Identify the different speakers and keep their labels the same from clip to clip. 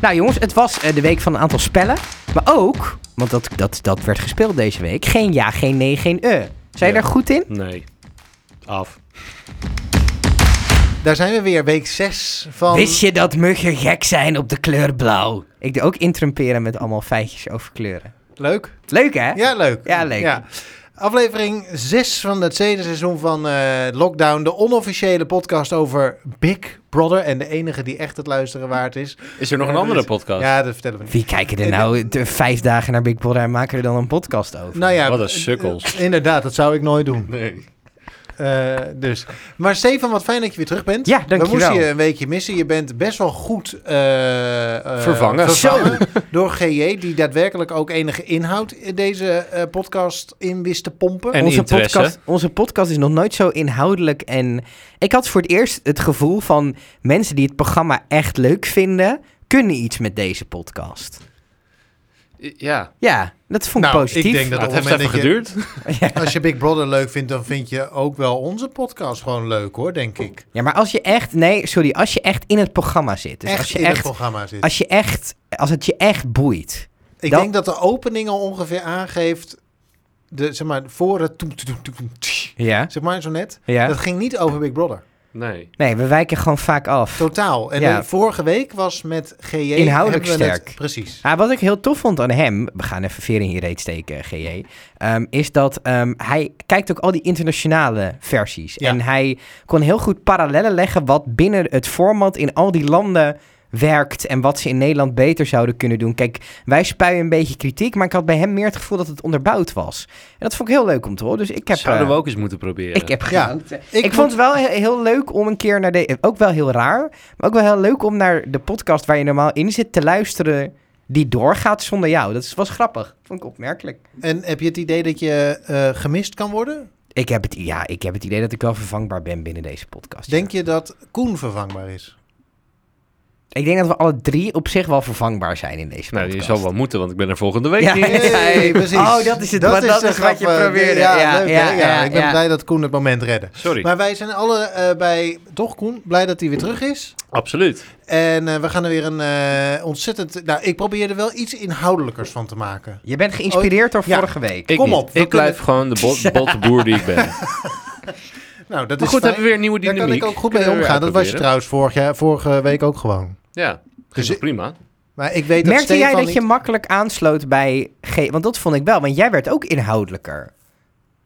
Speaker 1: Nou jongens, het was eh, de week van een aantal spellen. Maar ook, want dat, dat, dat werd gespeeld deze week. Geen ja, geen nee, geen eh. Zijn je
Speaker 2: Ja.
Speaker 1: daar goed in?
Speaker 2: Nee. Af.
Speaker 3: Daar zijn we weer, week 6 van...
Speaker 1: Wist je dat muggen gek zijn op de kleur blauw? Ik doe ook intrumperen met allemaal feitjes over kleuren.
Speaker 3: Leuk?
Speaker 1: Leuk hè?
Speaker 3: Ja, leuk.
Speaker 1: Ja, leuk.
Speaker 3: Aflevering 6 van het tweede seizoen van eh, Lockdown. De onofficiële podcast over Big Brother. En de enige die echt het luisteren waard is.
Speaker 2: Is er nog een andere podcast?
Speaker 3: Ja, dat vertellen we niet.
Speaker 1: Wie kijken er nou de vijf dagen naar Big Brother en maken er dan een podcast over?
Speaker 3: Nou ja,
Speaker 2: Wat een sukkels.
Speaker 3: eh, Inderdaad, dat zou ik nooit doen.
Speaker 2: Nee.
Speaker 3: Eh, dus. Maar Stefan, wat fijn dat je weer terug bent.
Speaker 1: Ja, dankjewel.
Speaker 3: We moesten je een weekje missen. Je bent best wel goed eh, eh,
Speaker 2: Vervangen.
Speaker 3: door GJ, die daadwerkelijk ook enige inhoud in deze eh, podcast in wist te pompen.
Speaker 2: En
Speaker 1: onze
Speaker 2: interesse.
Speaker 1: podcast, onze podcast is nog nooit zo inhoudelijk. En ik had voor het eerst het gevoel van mensen die het programma echt leuk vinden, kunnen iets met deze podcast.
Speaker 2: Ja.
Speaker 1: Ja, dat vond ik
Speaker 3: Nou,
Speaker 1: positief.
Speaker 3: ik denk
Speaker 2: Dat
Speaker 3: Dat
Speaker 2: heeft
Speaker 3: moment
Speaker 2: even
Speaker 3: dat je-
Speaker 2: geduurd.
Speaker 1: ja.
Speaker 3: Als je Big Brother leuk vindt, dan vind je ook wel onze podcast gewoon leuk hoor, denk ik.
Speaker 1: ja, maar als je echt, nee, sorry, als je echt in het programma zit. Dus
Speaker 3: echt
Speaker 1: als je
Speaker 3: in het
Speaker 1: echt,
Speaker 3: programma zit.
Speaker 1: als je echt, als het je echt boeit.
Speaker 3: ik
Speaker 1: dat-
Speaker 3: denk dat de opening al ongeveer aangeeft, de, zeg maar, voor het... toem, toem, toem, toem, tsch,
Speaker 1: Ja.
Speaker 3: Zeg maar zo net.
Speaker 1: ja.
Speaker 3: Dat ging niet over Big Brother.
Speaker 2: Nee.
Speaker 1: Nee, we wijken gewoon vaak af.
Speaker 3: Totaal. En
Speaker 1: Ja.
Speaker 3: de vorige week was met GJ...
Speaker 1: Inhoudelijk
Speaker 3: hebben we het-
Speaker 1: sterk.
Speaker 3: precies.
Speaker 1: Ah, wat ik heel tof vond aan hem, we gaan even veer in je reet steken, GJ, ehm, is dat ehm, hij kijkt ook al die internationale versies.
Speaker 3: Ja.
Speaker 1: En hij kon heel goed parallellen leggen wat binnen het format in al die landen werkt en wat ze in Nederland beter zouden kunnen doen. Kijk, wij spuien een beetje kritiek, maar ik had bij hem meer het gevoel dat het onderbouwd was. En dat vond ik heel leuk om te horen. Dus ik heb...
Speaker 2: Zouden
Speaker 1: eh,
Speaker 2: we ook eens moeten proberen.
Speaker 1: ik heb
Speaker 3: Ja,
Speaker 1: genoten.
Speaker 3: ik
Speaker 1: ik vond het wel he- heel leuk om een keer naar de... Ook wel heel raar, maar ook wel heel leuk om naar de podcast waar je normaal in zit te luisteren... die doorgaat zonder jou. Dat is- was grappig. Vond ik opmerkelijk.
Speaker 3: En heb je het idee dat je eh, gemist kan worden?
Speaker 1: Ik heb, het, ja, ik heb het idee dat ik wel vervangbaar ben binnen deze podcast.
Speaker 3: Denk je dat Koen vervangbaar is?
Speaker 1: ja. Ik denk dat we alle drie op zich wel vervangbaar zijn in deze
Speaker 2: Nou,
Speaker 1: podcast.
Speaker 2: je zal wel moeten, want ik ben er volgende week
Speaker 1: Ja.
Speaker 2: niet.
Speaker 3: Hey, precies.
Speaker 1: Oh, dat is het. Wat- dat
Speaker 3: de
Speaker 1: is wat je
Speaker 3: grap, eh,
Speaker 1: probeerde.
Speaker 3: Ja,
Speaker 1: Ja,
Speaker 3: leuk,
Speaker 1: ja,
Speaker 3: hè?
Speaker 1: ja,
Speaker 3: ik ben
Speaker 1: ja.
Speaker 3: blij dat Koen het moment redde.
Speaker 2: Sorry.
Speaker 3: Maar wij zijn alle eh, bij, toch Koen, blij dat hij weer terug is.
Speaker 2: Absoluut.
Speaker 3: En eh, we gaan er weer een eh, ontzettend... Nou, ik probeer er wel iets inhoudelijkers van te maken.
Speaker 1: Je bent geïnspireerd door
Speaker 3: ja.
Speaker 1: vorige week.
Speaker 2: Oh, Ik
Speaker 3: Kom
Speaker 2: niet.
Speaker 3: op, we
Speaker 2: Ik blijf gewoon de bot- botte boer die ik ben.
Speaker 3: Nou, dat
Speaker 2: Maar
Speaker 3: is
Speaker 2: goed,
Speaker 3: fijn.
Speaker 2: hebben we weer een nieuwe
Speaker 3: Daar
Speaker 2: dynamiek.
Speaker 3: kan ik ook goed
Speaker 2: Kunnen
Speaker 3: mee
Speaker 2: we weer
Speaker 3: omgaan. Dat was je
Speaker 2: uitproberen.
Speaker 3: trouwens vorig jaar, vorige week ook gewoon.
Speaker 2: Ja.
Speaker 3: Dus-
Speaker 2: Dus prima.
Speaker 3: Maar ik weet dat
Speaker 1: Merkte
Speaker 3: Stefan
Speaker 1: jij dat
Speaker 3: niet-
Speaker 1: je makkelijk aansloot bij... G want dat vond ik wel, want jij werd ook inhoudelijker.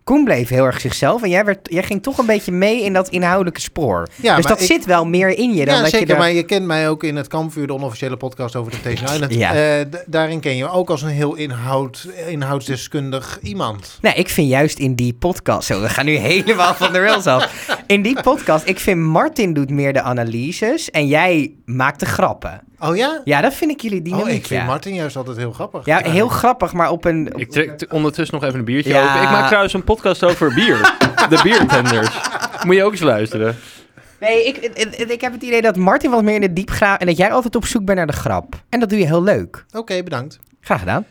Speaker 1: Koen bleef heel erg zichzelf en jij, werd, jij ging toch een beetje mee in dat inhoudelijke spoor.
Speaker 3: Ja,
Speaker 1: dus
Speaker 3: maar
Speaker 1: dat
Speaker 3: ik-
Speaker 1: zit wel meer in je dan
Speaker 3: ja,
Speaker 1: dat
Speaker 3: zeker.
Speaker 1: je er...
Speaker 3: Maar je kent mij ook in het Kampvuur, de onofficiële podcast over de Temptation Island.
Speaker 1: Ja.
Speaker 3: Eh, d- daarin ken je me ook als een heel inhoud, inhoudsdeskundig iemand.
Speaker 1: Nou, ik vind juist in die podcast... Zo, we gaan nu helemaal van de rails af. In die podcast, ik vind Martin doet meer de analyses en jij maakt de grappen.
Speaker 3: Oh ja?
Speaker 1: Ja, dat vind ik jullie dynamiek,
Speaker 3: oh, ik vind
Speaker 1: ja.
Speaker 3: Martin juist altijd heel grappig.
Speaker 1: ja, heel grappig, maar op een...
Speaker 2: Ik trek t- ondertussen nog even een biertje
Speaker 1: Ja.
Speaker 2: open. Ik maak trouwens een podcast over bier. de biertenders. Moet je ook eens luisteren.
Speaker 1: Nee, ik, ik, ik heb het idee dat Martin wat meer in de diep gaat... en dat jij altijd op zoek bent naar de grap. En dat doe je heel leuk.
Speaker 3: Oké, bedankt.
Speaker 1: Graag gedaan.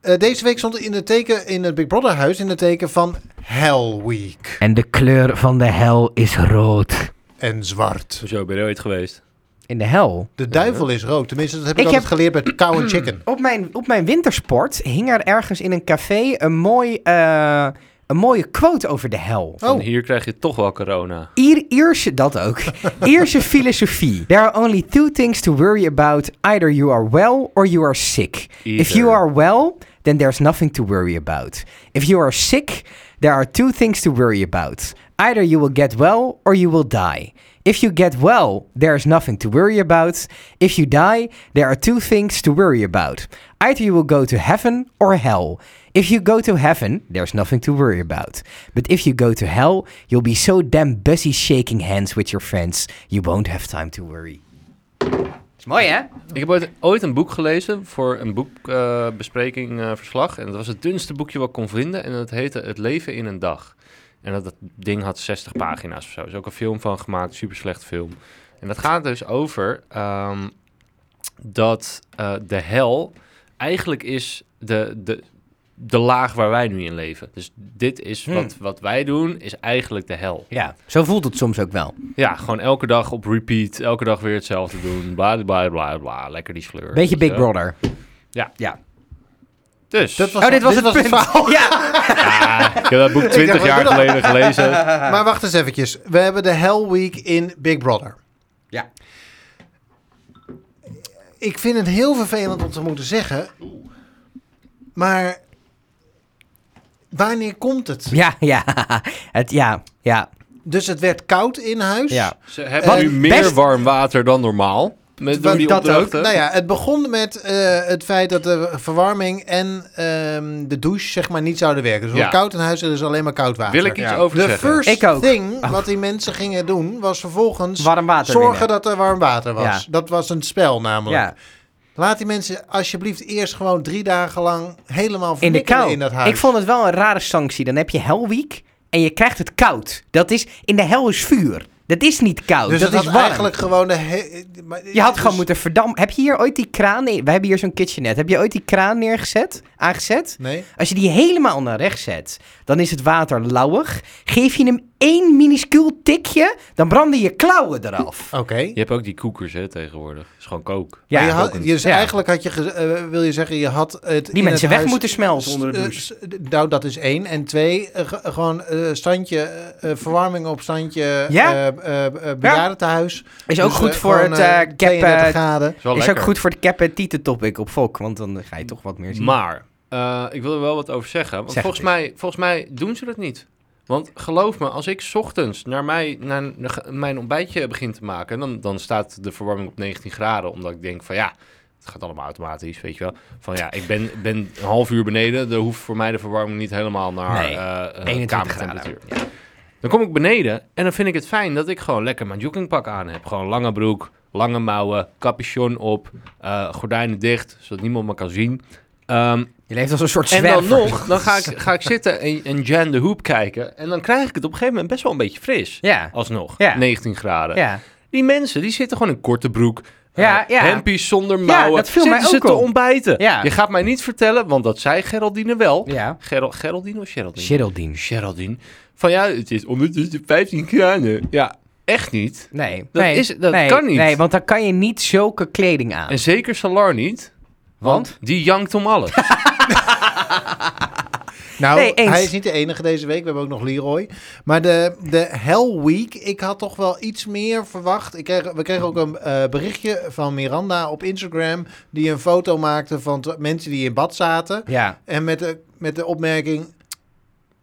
Speaker 3: Eh, deze week stond in, het teken, in het Big Brother huis in het teken van Hell Week.
Speaker 1: En de kleur van de hel is rood.
Speaker 3: En zwart.
Speaker 2: Zo ben je ooit geweest.
Speaker 3: Oh.
Speaker 1: In de hel?
Speaker 3: De duivel is rood. Tenminste, dat heb ik,
Speaker 1: Ik
Speaker 3: altijd
Speaker 1: heb-
Speaker 3: geleerd bij Cow and Chicken.
Speaker 1: Op mijn, op mijn wintersport hing er ergens in een café een, mooi, eh, een mooie quote over de hel.
Speaker 2: Van
Speaker 3: Oh,
Speaker 2: hier krijg je toch wel corona.
Speaker 1: Ier, Ierse, dat ook. Ierse filosofie. There are only two things to worry about. Either you are well or you are sick. If
Speaker 2: Either.
Speaker 1: you are well, then there's nothing to worry about. If you are sick, there are two things to worry about. Either you will get well or you will die. If you get well, there's nothing to worry about. If you die, there are two things to worry about. Either you will go to heaven or hell. If you go to heaven, there's nothing to worry about. But if you go to hell, you'll be so damn busy shaking hands with your friends, you won't have time to worry. Is mooi, hè?
Speaker 2: Ik heb ooit, ooit een boek gelezen voor een boekbespreking, eh, verslag. En dat was het dunste boekje wat ik kon vinden. En dat heette Het leven in een dag. En dat, dat ding had 60 pagina's of zo. Er is ook een film van gemaakt, super slecht film. En dat gaat dus over ehm, dat eh, de hel eigenlijk is de, de, de laag waar wij nu in leven. Dus dit is
Speaker 1: Hmm.
Speaker 2: wat, wat wij doen, is eigenlijk de hel.
Speaker 1: Ja, zo voelt het soms ook wel.
Speaker 2: Ja, gewoon elke dag op repeat, elke dag weer hetzelfde doen. Bla bla bla bla, lekker die sleur.
Speaker 1: Beetje
Speaker 2: weet
Speaker 1: Big
Speaker 2: je wel.
Speaker 1: Brother.
Speaker 2: Ja.
Speaker 1: ja.
Speaker 2: Dus,
Speaker 3: Dat was-
Speaker 1: Oh, dit was het punt.
Speaker 3: verhaal.
Speaker 1: Ja.
Speaker 2: ja, ik heb dat boek 20
Speaker 3: wat
Speaker 2: jaar
Speaker 3: doe dat?
Speaker 2: geleden gelezen.
Speaker 3: Maar wacht eens eventjes. We hebben de Hell Week in Big Brother.
Speaker 1: Ja.
Speaker 3: Ik vind het heel vervelend om te moeten zeggen. Maar wanneer komt het?
Speaker 1: Ja, ja. Het, ja, ja,
Speaker 3: Dus het werd koud in huis.
Speaker 1: ja.
Speaker 2: Ze hebben
Speaker 1: Wat
Speaker 2: nu meer
Speaker 1: best-
Speaker 2: warm water dan normaal. Met door
Speaker 3: Want
Speaker 2: die
Speaker 3: dat
Speaker 2: opdrachten.
Speaker 3: ook. Nou ja, het begon met eh, het feit dat de verwarming en ehm, de douche zeg maar niet zouden werken. Dus het
Speaker 2: Ja.
Speaker 3: was koud in huis en dus alleen maar koud water.
Speaker 2: Wil ik iets
Speaker 3: Ja.
Speaker 2: over
Speaker 3: De
Speaker 2: zeggen?
Speaker 3: first
Speaker 1: Ik ook.
Speaker 3: thing wat die mensen gingen doen was vervolgens
Speaker 1: Warm water
Speaker 3: zorgen
Speaker 1: winnen.
Speaker 3: dat er warm water was.
Speaker 1: Ja.
Speaker 3: Dat was een spel namelijk.
Speaker 1: Ja,
Speaker 3: Laat die mensen alsjeblieft eerst gewoon drie dagen lang helemaal
Speaker 1: in de
Speaker 3: vernikkelen
Speaker 1: kou.
Speaker 3: in dat huis.
Speaker 1: Ik vond het wel een rare sanctie. Dan heb je Hell Week en je krijgt het koud. Dat is, in de hel is vuur. Dat is niet koud,
Speaker 3: dus
Speaker 1: Oh, dat
Speaker 3: het
Speaker 1: is
Speaker 3: had
Speaker 1: warm.
Speaker 3: eigenlijk gewoon de... he- maar-
Speaker 1: Je had
Speaker 3: dus-
Speaker 1: gewoon moeten verdampen. Heb je hier ooit die kraan... Nee, we hebben hier zo'n kitchenette. Heb je ooit die kraan neergezet, aangezet?
Speaker 3: Nee?
Speaker 1: Als je die helemaal naar rechts zet, dan is het water lauwig. Geef je hem één minuscuul tikje, dan branden je klauwen eraf.
Speaker 3: Oké.
Speaker 2: Je hebt ook die koekers hè, tegenwoordig. Het is gewoon kook.
Speaker 1: Ja,
Speaker 3: Maar je had,
Speaker 2: ook een-
Speaker 3: dus
Speaker 1: ja.
Speaker 3: eigenlijk had je, ge- eh, wil je zeggen, je had het
Speaker 1: Die
Speaker 3: in
Speaker 1: mensen
Speaker 3: het
Speaker 1: weg
Speaker 3: huis-
Speaker 1: moeten smelten onder de
Speaker 3: Eh,
Speaker 1: douche.
Speaker 3: s- d- nou, dat is één. En twee, eh, ge- gewoon eh, standje, eh, eh, verwarming op standje
Speaker 1: Ja.
Speaker 3: eh eh, eh, bejaardentehuis.
Speaker 1: Is ook
Speaker 3: Dus,
Speaker 1: goed
Speaker 3: eh,
Speaker 1: voor
Speaker 3: gewoon,
Speaker 1: het
Speaker 3: eh,
Speaker 1: eh, cap...
Speaker 3: 32
Speaker 1: eh,
Speaker 3: graden.
Speaker 2: is wel
Speaker 1: Is ook
Speaker 2: lekker.
Speaker 1: goed voor het cap en tieten topic op Volk, want dan ga je toch wat meer zien.
Speaker 2: Maar, eh, ik wil er wel wat over zeggen. Want
Speaker 1: Zeg het
Speaker 2: volgens mij, volgens mij doen ze dat niet. Want geloof me, als ik 's ochtends naar, mij, naar naar mijn ontbijtje begin te maken... Dan, dan staat de verwarming op 19 graden. Omdat ik denk van ja, het gaat allemaal automatisch, weet je wel. Van ja, ik ben, ben een half uur beneden. Dan hoeft voor mij de verwarming niet helemaal naar
Speaker 1: Nee,
Speaker 2: eh, eh,
Speaker 1: 21 graden.
Speaker 2: kamertemperatuur. Dan kom ik beneden en dan vind ik het fijn dat ik gewoon lekker mijn joggingpak aan heb. Gewoon lange broek, lange mouwen, capuchon op, eh, gordijnen dicht, zodat niemand me kan zien. Ehm,
Speaker 1: Je leeft als een soort
Speaker 2: en
Speaker 1: zwerver.
Speaker 2: dan nog, dan ga ik, ga ik zitten en, en Jan de Hoop kijken. En dan krijg ik het op een gegeven moment best wel een beetje fris.
Speaker 1: Ja,
Speaker 2: Alsnog,
Speaker 1: Ja.
Speaker 2: 19 graden.
Speaker 1: ja.
Speaker 2: Die mensen, die zitten gewoon in korte broek.
Speaker 1: Ja,
Speaker 2: eh,
Speaker 1: ja.
Speaker 2: Hempies zonder mouwen.
Speaker 1: dat viel
Speaker 2: zitten
Speaker 1: mij
Speaker 2: ze
Speaker 1: ook
Speaker 2: te
Speaker 1: op.
Speaker 2: ontbijten.
Speaker 1: Ja.
Speaker 2: Je gaat mij niet vertellen, want dat zei Geraldine wel.
Speaker 1: ja.
Speaker 2: Geral- Geraldine of Geraldine?
Speaker 1: Geraldine.
Speaker 2: Geraldine. Van ja, het is ondertussen 15 graden. Ja, echt niet.
Speaker 1: Nee, dat,
Speaker 2: is- dat
Speaker 1: nee,
Speaker 2: kan niet.
Speaker 1: Nee, want dan kan je niet zulke kleding aan.
Speaker 2: En zeker Salar niet.
Speaker 1: want?
Speaker 2: Die jankt om alles.
Speaker 3: Nou,
Speaker 1: Nee, eens.
Speaker 3: hij is niet de enige deze week. We hebben ook nog Leroy. Maar de, de Hell Week, ik had toch wel iets meer verwacht. Ik kreeg, we kregen ook een eh, berichtje van Miranda op Instagram... die een foto maakte van t- mensen die in bad zaten.
Speaker 1: Ja.
Speaker 3: En met de, met de opmerking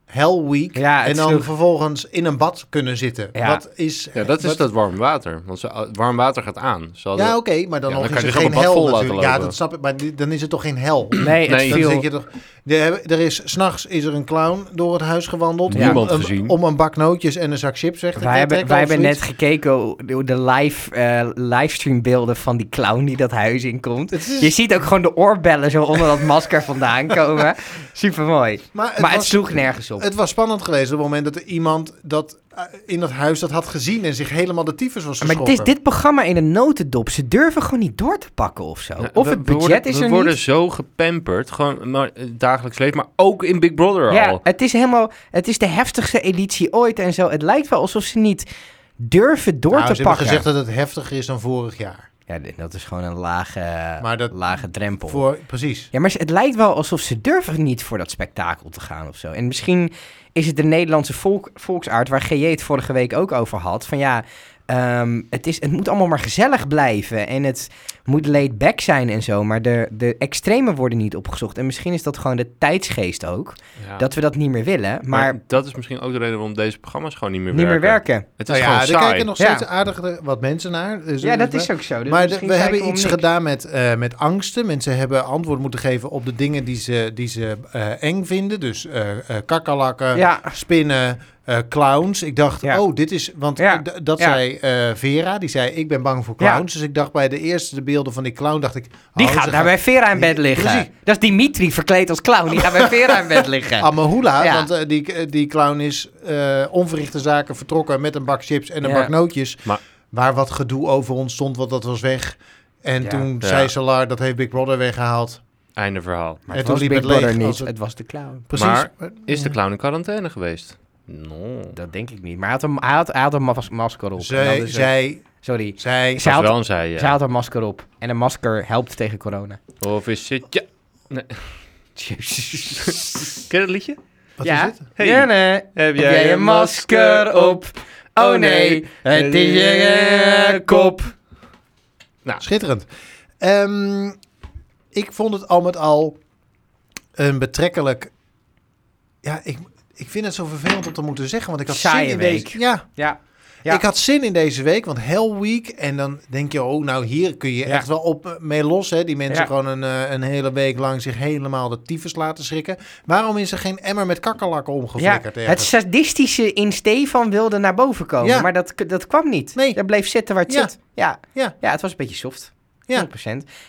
Speaker 3: Hell Week.
Speaker 1: Ja, het
Speaker 3: en dan
Speaker 1: sloeg-
Speaker 3: vervolgens in een bad kunnen zitten.
Speaker 1: Ja.
Speaker 3: Wat is,
Speaker 2: Ja, dat is dus
Speaker 3: wat-
Speaker 2: dat warm water. Want ze- het warm water gaat aan. Ze hadden-
Speaker 3: Ja, oké, maar dan,
Speaker 2: Ja,
Speaker 3: nog
Speaker 2: dan
Speaker 3: is
Speaker 2: kan
Speaker 3: het
Speaker 2: je gewoon een
Speaker 3: geen
Speaker 2: bad
Speaker 3: hel
Speaker 2: vol laten
Speaker 3: natuurlijk. Ja,
Speaker 2: lopen.
Speaker 3: dat snap ik, maar die- dan is het toch geen hel?
Speaker 1: Nee, het
Speaker 2: Nee.
Speaker 3: Dan
Speaker 1: viel...
Speaker 3: zit je toch, er, hebben- er is s'nachts is er een clown door het huis gewandeld.
Speaker 2: Ja. Niemand
Speaker 3: om, een-
Speaker 2: gezien.
Speaker 3: Om een bak nootjes en een zak chips weg te
Speaker 1: Wij hebben,
Speaker 3: trekken
Speaker 1: wij
Speaker 3: of
Speaker 1: hebben net
Speaker 3: zoiets.
Speaker 1: gekeken hoe- hoe de live, eh livestreambeelden van die clown die dat huis inkomt.
Speaker 3: Het is-
Speaker 1: Je ziet ook gewoon de oorbellen zo onder dat masker vandaan komen. Super mooi.
Speaker 3: Maar het,
Speaker 1: Maar het
Speaker 3: was,
Speaker 1: sloeg nergens op.
Speaker 3: het was spannend geweest op het moment dat er iemand dat, eh, in dat huis dat had gezien en zich helemaal de tyfus was
Speaker 1: Maar
Speaker 3: geschrokken.
Speaker 1: het is dit programma in een notendop. Ze durven gewoon niet door te pakken of zo.
Speaker 2: Ja,
Speaker 1: of
Speaker 2: we-
Speaker 1: het
Speaker 2: we worden-
Speaker 1: budget is er
Speaker 2: We worden
Speaker 1: niet.
Speaker 2: zo gepamperd. Gewoon maar, eh, dagelijks leven. Maar ook in Big Brother
Speaker 1: Ja,
Speaker 2: al.
Speaker 1: het is helemaal. Het is de heftigste editie ooit en zo. Het lijkt wel alsof ze niet durven door
Speaker 3: Nou,
Speaker 1: te
Speaker 3: ze
Speaker 1: pakken.
Speaker 3: hebben gezegd dat het heftiger is dan vorig jaar.
Speaker 1: Ja, dit- dat is gewoon een lage,
Speaker 3: Maar dat-
Speaker 1: lage drempel.
Speaker 3: Voor, precies.
Speaker 1: Ja, maar het lijkt wel alsof ze durven niet voor dat spektakel te gaan of zo. En misschien is het de Nederlandse volk, volksaard, waar GJ het vorige week ook over had. Van ja, ehm, het, is, het moet allemaal maar gezellig blijven en het moet laid back zijn en zo. Maar de, de extremen worden niet opgezocht. En misschien is dat gewoon de tijdsgeest ook,
Speaker 2: Ja.
Speaker 1: dat we dat niet meer willen. Maar,
Speaker 2: maar, dat is misschien ook de reden waarom deze programma's gewoon niet meer
Speaker 1: niet
Speaker 2: werken.
Speaker 1: meer werken.
Speaker 2: Het is
Speaker 3: Nou ja,
Speaker 2: gewoon
Speaker 3: er
Speaker 2: saai.
Speaker 3: kijken nog steeds
Speaker 1: Ja.
Speaker 3: aardig wat mensen naar. Dus
Speaker 1: Ja, dat
Speaker 3: dus-
Speaker 1: is ook zo. Dus
Speaker 3: maar de-
Speaker 1: misschien
Speaker 3: we
Speaker 1: zeiken
Speaker 3: hebben
Speaker 1: om
Speaker 3: iets
Speaker 1: niks.
Speaker 3: gedaan met, eh, met angsten. Mensen hebben antwoord moeten geven op de dingen die ze, die ze eh, eng vinden. Dus eh eh, kakkerlakken,
Speaker 1: Ja.
Speaker 3: spinnen, eh, clowns. Ik dacht,
Speaker 1: Ja.
Speaker 3: oh, dit is... Want
Speaker 1: Ja.
Speaker 3: d- dat
Speaker 1: Ja.
Speaker 3: zei eh, Vera, die zei, ik ben bang voor clowns. Dus ik dacht bij de eerste beelden van die clown, dacht ik...
Speaker 1: Die
Speaker 3: oh,
Speaker 1: gaat
Speaker 3: ze
Speaker 1: daar bij Vera in bed liggen.
Speaker 3: Precies.
Speaker 1: Dat is Dimitri verkleed als clown. Die gaat bij Vera in bed liggen.
Speaker 3: Amahula,
Speaker 1: Ja.
Speaker 3: want eh, die, eh, die clown is eh, onverrichte zaken vertrokken met een bak chips en een
Speaker 1: Ja.
Speaker 3: bak nootjes.
Speaker 2: Maar-
Speaker 3: waar wat gedoe over ontstond, want dat was weg. En
Speaker 1: Ja.
Speaker 3: toen
Speaker 2: Ja.
Speaker 3: zei Salar, dat heeft Big Brother weggehaald.
Speaker 2: Einde verhaal.
Speaker 1: Maar
Speaker 3: En
Speaker 1: het
Speaker 3: toen
Speaker 1: was
Speaker 3: liep
Speaker 1: Big
Speaker 3: het leeg
Speaker 1: Brother
Speaker 3: als
Speaker 1: niet,
Speaker 3: het-
Speaker 1: het was de clown.
Speaker 3: Precies.
Speaker 2: Maar-
Speaker 3: Maar-
Speaker 2: Is de clown in quarantaine geweest? No.
Speaker 1: Dat denk ik niet. Maar hij had een, hij had, hij had een mas- masker op. En dat
Speaker 3: Zij,
Speaker 1: is-
Speaker 3: zij,
Speaker 1: sorry.
Speaker 3: zij.
Speaker 1: Zij
Speaker 2: Dat
Speaker 1: had,
Speaker 2: wel een zij, ja.
Speaker 1: zij had een masker op. En een masker helpt tegen corona.
Speaker 2: Of is het... Ja. Nee. Jezus. Ken je dat liedje?
Speaker 3: Wat
Speaker 1: ja?
Speaker 3: is het?
Speaker 2: Hey.
Speaker 1: Ja, nee. Heb jij je masker op? Oh nee, het is je eh, kop.
Speaker 3: Schitterend. Ehm, ik vond het al met al een betrekkelijk... Ja, ik, ik vind het zo vervelend om te moeten zeggen, want ik had
Speaker 1: Saaie
Speaker 3: zin in
Speaker 1: week.
Speaker 3: deze... Ja,
Speaker 1: Ja. Ja.
Speaker 3: ik had zin in deze week, want Hell Week... En dan denk je, oh, nou hier kun je
Speaker 1: Ja.
Speaker 3: echt wel op eh, mee los, hè. Die mensen
Speaker 1: Ja.
Speaker 3: gewoon een, eh, een hele week lang zich helemaal de tyfus laten schrikken. Waarom is er geen emmer met kakkerlakken
Speaker 1: Ja,
Speaker 3: omgeflikkerd?
Speaker 1: het
Speaker 3: ergens?
Speaker 1: sadistische in Stefan wilde naar boven komen,
Speaker 3: Ja.
Speaker 1: maar dat, dat kwam niet.
Speaker 3: Nee.
Speaker 1: Dat bleef zitten waar het
Speaker 3: Ja.
Speaker 1: zit. Ja.
Speaker 3: Ja.
Speaker 1: ja, het was een beetje soft.
Speaker 3: Ja.
Speaker 1: 100%.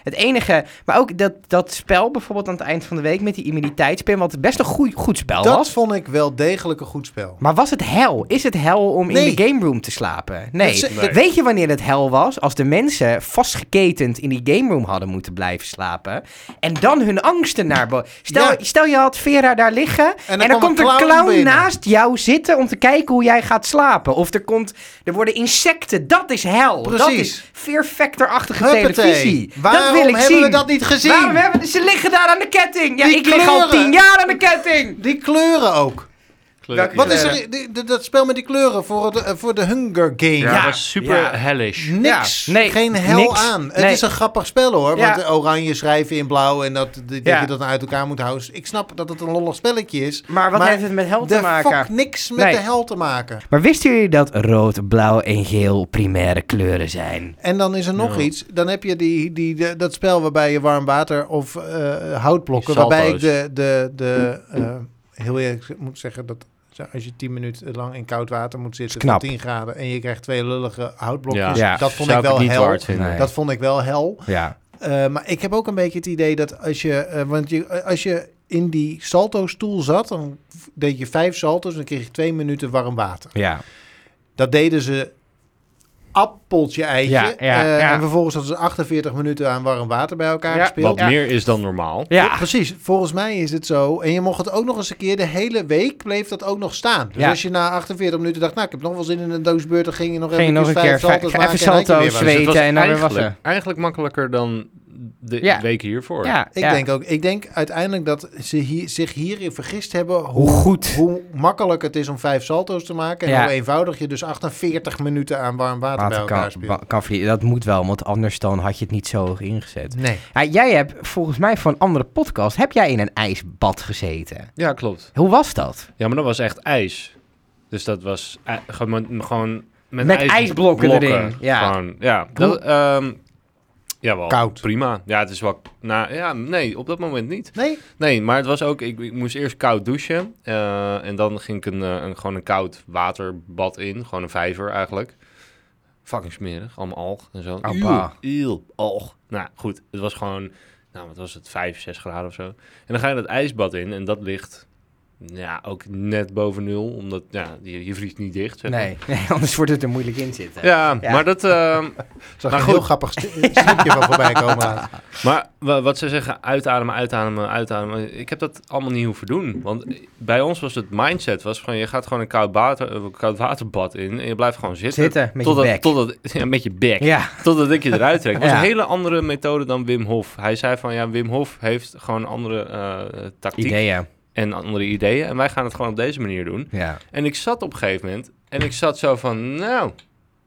Speaker 1: Het enige, maar ook dat, dat spel bijvoorbeeld aan het eind van de week met die immuniteitspin, wat best een goed, goed spel
Speaker 3: Dat
Speaker 1: was.
Speaker 3: vond ik wel degelijk een goed spel.
Speaker 1: Maar was het hel? Is het hel om
Speaker 3: Nee.
Speaker 1: in de game room te slapen? Nee.
Speaker 3: Dat ze-
Speaker 2: Nee.
Speaker 1: Weet je wanneer het hel was? Als de mensen vastgeketend in die game room hadden moeten blijven slapen. En dan hun angsten naar boven. Stel,
Speaker 3: Ja.
Speaker 1: stel je had Vera daar liggen. En dan,
Speaker 3: kwam
Speaker 1: komt een clown,
Speaker 3: binnen.
Speaker 1: naast jou zitten om te kijken hoe jij gaat slapen. Of er, komt, er worden insecten. Dat is hel. Dat
Speaker 3: Precies.
Speaker 1: is Fear Factor-achtige
Speaker 3: Huppatee.
Speaker 1: televisie.
Speaker 3: Waarom
Speaker 1: dat wil ik
Speaker 3: hebben
Speaker 1: zien.
Speaker 3: we dat niet gezien?
Speaker 1: Waarom hebben we- Ze liggen daar aan de ketting. Ja,
Speaker 3: Die
Speaker 1: ik lig al
Speaker 3: kleuren.
Speaker 1: tien jaar aan de ketting.
Speaker 3: Die kleuren ook.
Speaker 2: Kleur-
Speaker 1: Wat
Speaker 3: Wat is er, die- die- dat spel met die kleuren voor, de, voor de Hunger Game?
Speaker 2: Ja,
Speaker 1: Ja.
Speaker 2: dat is super
Speaker 1: Ja.
Speaker 2: hellish.
Speaker 3: Niks.
Speaker 1: Ja. Nee,
Speaker 3: Geen hel
Speaker 1: niks.
Speaker 3: aan. Het
Speaker 1: Nee.
Speaker 3: is een grappig spel hoor.
Speaker 1: Ja.
Speaker 3: Want eh, oranje schrijven in blauw en dat, dat
Speaker 1: Ja.
Speaker 3: je dat dan uit elkaar moet houden. Ik snap dat het een lollig spelletje is.
Speaker 1: Maar wat
Speaker 3: Maar
Speaker 1: heeft het met hel te
Speaker 3: De
Speaker 1: maken?
Speaker 3: fuck niks met
Speaker 1: Nee.
Speaker 3: de hel te maken.
Speaker 1: Maar wisten jullie dat rood, blauw en geel primaire kleuren zijn?
Speaker 3: En dan is er nog
Speaker 2: Ja.
Speaker 3: iets. Dan heb je die, die, de- dat spel waarbij je warm water of eh, houtblokken.
Speaker 2: Die
Speaker 3: Waarbij ik
Speaker 2: salto's.
Speaker 3: de. de, de eh, heel eerlijk moet zeggen dat. Als je 10 minuten lang in koud water moet zitten,
Speaker 1: knap.
Speaker 3: van 10 graden, en je krijgt twee lullige houtblokjes,
Speaker 1: Ja.
Speaker 3: dat vond
Speaker 2: Zou
Speaker 3: ik wel
Speaker 2: niet
Speaker 3: hel.
Speaker 2: waard vinden.
Speaker 1: Nee.
Speaker 3: Dat vond ik wel hel.
Speaker 1: Ja.
Speaker 3: Eh, maar ik heb ook een beetje het idee dat als je, eh, want je, eh, als je in die salto-stoel zat, dan v- deed je vijf salto's en dan kreeg je twee minuten warm water.
Speaker 1: Ja.
Speaker 3: Dat deden ze appeltje eitje.
Speaker 1: Ja, ja,
Speaker 3: Eh,
Speaker 1: ja.
Speaker 3: En vervolgens hadden ze 48 minuten aan warm water bij elkaar
Speaker 1: Ja.
Speaker 3: gespeeld.
Speaker 2: Wat
Speaker 1: Ja.
Speaker 2: meer is dan normaal. Dus
Speaker 1: Ja.
Speaker 3: Precies, volgens mij is het zo. En je mocht het ook nog eens een keer, de hele week bleef dat ook nog staan. Dus
Speaker 1: Ja.
Speaker 3: als je na 48 minuten dacht, nou ik heb nog wel zin in een doosbeurt, dan ging je nog
Speaker 1: Ging je
Speaker 3: even
Speaker 1: nog een keer
Speaker 3: vijf salto's
Speaker 1: vijf-
Speaker 3: maken.
Speaker 1: even
Speaker 3: en dan had je
Speaker 1: salto's,
Speaker 3: weer wat.
Speaker 1: twee-
Speaker 2: het was
Speaker 1: Zweten en dan nou weer
Speaker 2: eigenlijk,
Speaker 1: wassen.
Speaker 2: eigenlijk makkelijker dan de
Speaker 1: Ja.
Speaker 2: weken hiervoor.
Speaker 1: ja.
Speaker 3: Ik denk ook, ik denk uiteindelijk dat ze hier, zich hierin vergist hebben
Speaker 1: Hoe goed.
Speaker 3: hoe makkelijk het is om vijf salto's te maken. En
Speaker 1: Ja.
Speaker 3: hoe eenvoudig je dus 48 minuten aan warm water, bij
Speaker 1: Water
Speaker 3: elkaar
Speaker 1: kan,
Speaker 3: speelt.
Speaker 1: wa- kan vliegen. Dat moet wel, want anders dan had je het niet zo hoog ingezet.
Speaker 3: Nee.
Speaker 1: Ja, jij hebt volgens mij voor een andere podcast, heb jij in een ijsbad gezeten.
Speaker 2: Ja, klopt.
Speaker 1: Hoe was dat?
Speaker 2: Ja, maar dat was echt ijs. Dus dat was ij- gewoon, gewoon met,
Speaker 1: Met ijsblokken erin, ja.
Speaker 2: Gewoon, ja.
Speaker 1: Hoe-
Speaker 2: Dat, ehm, ja, wel.
Speaker 3: Koud.
Speaker 2: Prima. Ja, het is wel... Nou, ja, nee, op dat moment niet.
Speaker 3: Nee?
Speaker 2: Nee, maar het was ook... Ik, ik moest eerst koud douchen. eh, en dan ging ik een, eh, een, gewoon een koud waterbad in. Gewoon een vijver eigenlijk. Fucking smerig. Allemaal alg en zo.
Speaker 1: Appa.
Speaker 2: Eeuw, eeuw, alg. Nou, goed. Het was gewoon... Nou, wat was het? 5, 6 graden of zo. En dan ga je dat ijsbad in. En dat ligt... Ja, ook net boven nul. Omdat, ja, je, je vriest niet dicht. zeg maar.
Speaker 1: Nee, nee, anders wordt het er moeilijk in zitten.
Speaker 2: Ja,
Speaker 1: Ja.
Speaker 2: maar dat... ehm,
Speaker 3: Zag
Speaker 2: Maar
Speaker 3: een heel
Speaker 2: goed.
Speaker 3: grappig st- stukje van voorbij komen. laten.
Speaker 2: Maar wa- wat ze zeggen, uitademen, uitademen, uitademen. Ik heb dat allemaal niet hoeven doen. Want bij ons was het mindset was van... je gaat gewoon een koud, water, een koud waterbad in... en je blijft gewoon zitten.
Speaker 1: Zitten, met je
Speaker 2: totdat,
Speaker 1: bek.
Speaker 2: Totdat, ja, met je bek.
Speaker 1: Ja,
Speaker 2: Totdat ik je eruit trek. Het was
Speaker 1: Ja.
Speaker 2: een hele andere methode dan Wim Hof. Hij zei van, ja, Wim Hof heeft gewoon andere eh tactiek...
Speaker 1: ideeën.
Speaker 2: en andere ideeën. En wij gaan het gewoon op deze manier doen.
Speaker 1: Ja.
Speaker 2: En ik zat op een gegeven moment en ik zat zo van, nou.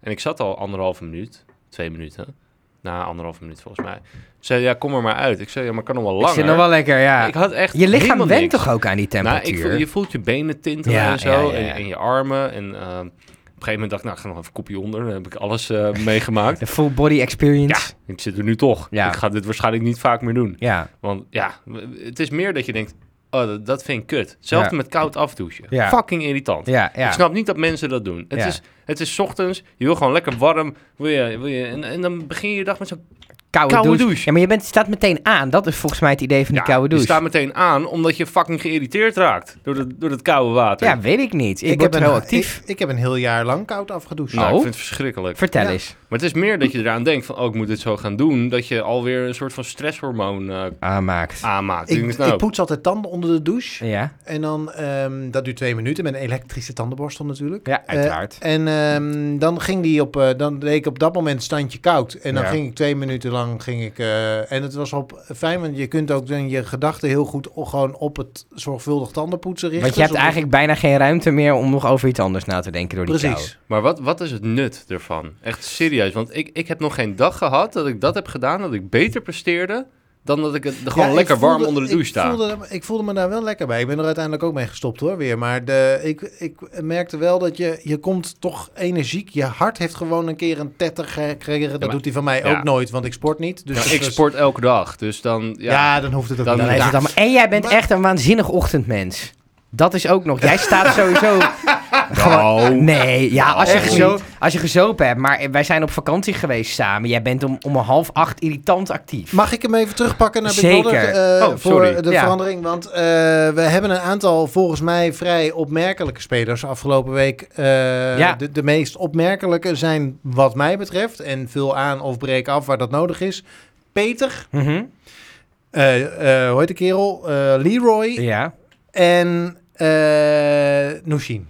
Speaker 2: En ik zat al anderhalve minuut, twee minuten. Na anderhalve minuut volgens mij. Ze zei, ja, kom er maar uit. Ik zei, ja, maar kan nog wel
Speaker 1: Ik
Speaker 2: langer.
Speaker 1: zit nog wel lekker, ja.
Speaker 2: Ik had echt
Speaker 1: je lichaam
Speaker 2: helemaal
Speaker 1: went
Speaker 2: niks.
Speaker 1: toch ook aan die
Speaker 2: Nou, ik
Speaker 1: temperatuur?
Speaker 2: voel- je voelt je benen tintelen
Speaker 1: Ja,
Speaker 2: en zo.
Speaker 1: ja, ja, ja.
Speaker 2: En, en je armen. En ehm, op een gegeven moment dacht ik, nou, ik ga nog even een kopje onder. Dan heb ik alles eh, meegemaakt.
Speaker 1: De full body experience.
Speaker 2: Ik zit er nu toch.
Speaker 1: Ja.
Speaker 2: Ik ga dit waarschijnlijk niet vaak meer doen.
Speaker 1: Ja.
Speaker 2: Want ja, w- het is meer dat je denkt, oh, dat, dat vind ik kut. Hetzelfde
Speaker 1: Ja.
Speaker 2: met koud afdouchen.
Speaker 1: Ja.
Speaker 2: Fucking irritant.
Speaker 1: Ja, ja.
Speaker 2: Ik snap niet dat mensen dat doen. Het,
Speaker 1: Ja.
Speaker 2: is, het is 's ochtends, je wil gewoon lekker warm. Wil je, wil je, en, en dan begin je je dag met zo'n
Speaker 1: koude,
Speaker 2: Koude
Speaker 1: douche.
Speaker 2: douche.
Speaker 1: Ja, maar je bent, staat meteen aan. Dat is volgens mij het idee van die koude
Speaker 2: die
Speaker 1: douche.
Speaker 2: staat meteen aan omdat je fucking geïrriteerd raakt door, de, door het koude water.
Speaker 1: Ja, weet ik niet. Ik, word
Speaker 3: heb
Speaker 1: ben
Speaker 3: een,
Speaker 1: heel actief.
Speaker 3: Ik, ik heb een heel jaar lang koud afgedoucht.
Speaker 2: Nou,
Speaker 1: Oh.
Speaker 2: ik vind het verschrikkelijk.
Speaker 1: Vertel
Speaker 3: Ja.
Speaker 1: eens.
Speaker 2: Maar het is meer dat je eraan denkt van, oh, ik moet dit zo gaan doen, dat je alweer een soort van stresshormoon eh,
Speaker 1: Aanmaakt.
Speaker 3: Ah.
Speaker 2: aanmaakt.
Speaker 3: Ik,
Speaker 2: Denk eens, nou,
Speaker 3: ik poets altijd tanden onder de douche.
Speaker 1: Ja,
Speaker 3: En dan, ehm, dat duurt twee minuten met een elektrische tandenborstel natuurlijk.
Speaker 1: ja uiteraard.
Speaker 3: Eh, en ehm, dan ging die op, eh, dan deed ik op dat moment standje koud. En dan
Speaker 1: Ja.
Speaker 3: ging ik twee minuten lang, ging ik, eh, en het was op fijn, want je kunt ook dan je gedachten heel goed o- gewoon op het zorgvuldig tandenpoetsen richten.
Speaker 1: Want je hebt
Speaker 3: zodat-
Speaker 1: eigenlijk bijna geen ruimte meer om nog over iets anders na te denken door die kou.
Speaker 3: Precies.
Speaker 2: Maar wat, wat is het nut ervan? Echt serieus, want ik, ik heb nog geen dag gehad dat ik dat heb gedaan, dat ik beter presteerde dan dat ik het gewoon
Speaker 3: Ja, ik
Speaker 2: lekker warm
Speaker 3: voelde-
Speaker 2: onder de douche
Speaker 3: ik
Speaker 2: sta.
Speaker 3: Voelde, ik voelde me daar wel lekker bij. Ik ben er uiteindelijk ook mee gestopt hoor weer. Maar de, ik, ik merkte wel dat je, je komt toch energiek. Je hart heeft gewoon een keer een tetter gekregen. Dat
Speaker 2: maar-
Speaker 3: doet hij van mij
Speaker 2: ja.
Speaker 3: ook nooit, want ik sport niet. Dus
Speaker 2: Nou,
Speaker 3: dat
Speaker 2: ik
Speaker 3: was-
Speaker 2: sport elke dag, dus dan...
Speaker 3: Ja,
Speaker 2: Ja,
Speaker 3: dan hoeft het ook
Speaker 2: Dan-
Speaker 3: niet.
Speaker 1: Dan is het allemaal... En jij bent
Speaker 3: Maar-
Speaker 1: echt een waanzinnig ochtendmens. Dat is ook nog. Jij staat sowieso. gewoon. Nee, ja, als je,
Speaker 2: Echt
Speaker 1: gezo-
Speaker 2: niet.
Speaker 1: als je gezopen hebt. Maar wij zijn op vakantie geweest samen. Jij bent om, om een half acht irritant actief.
Speaker 3: Mag ik hem even terugpakken naar Big
Speaker 1: Zeker.
Speaker 3: Brother,
Speaker 2: Oh,
Speaker 3: eh,
Speaker 2: sorry.
Speaker 3: voor de
Speaker 1: Ja.
Speaker 3: verandering? Want eh, we hebben een aantal volgens mij vrij opmerkelijke spelers afgelopen week. Eh,
Speaker 1: Ja.
Speaker 3: de, de meest opmerkelijke zijn wat mij betreft, en vul aan of breek af waar dat nodig is, Peter,
Speaker 1: Mhm.
Speaker 3: eh, eh, hoe heet de kerel? Eh, Leroy
Speaker 1: Ja.
Speaker 3: en eh Nushin.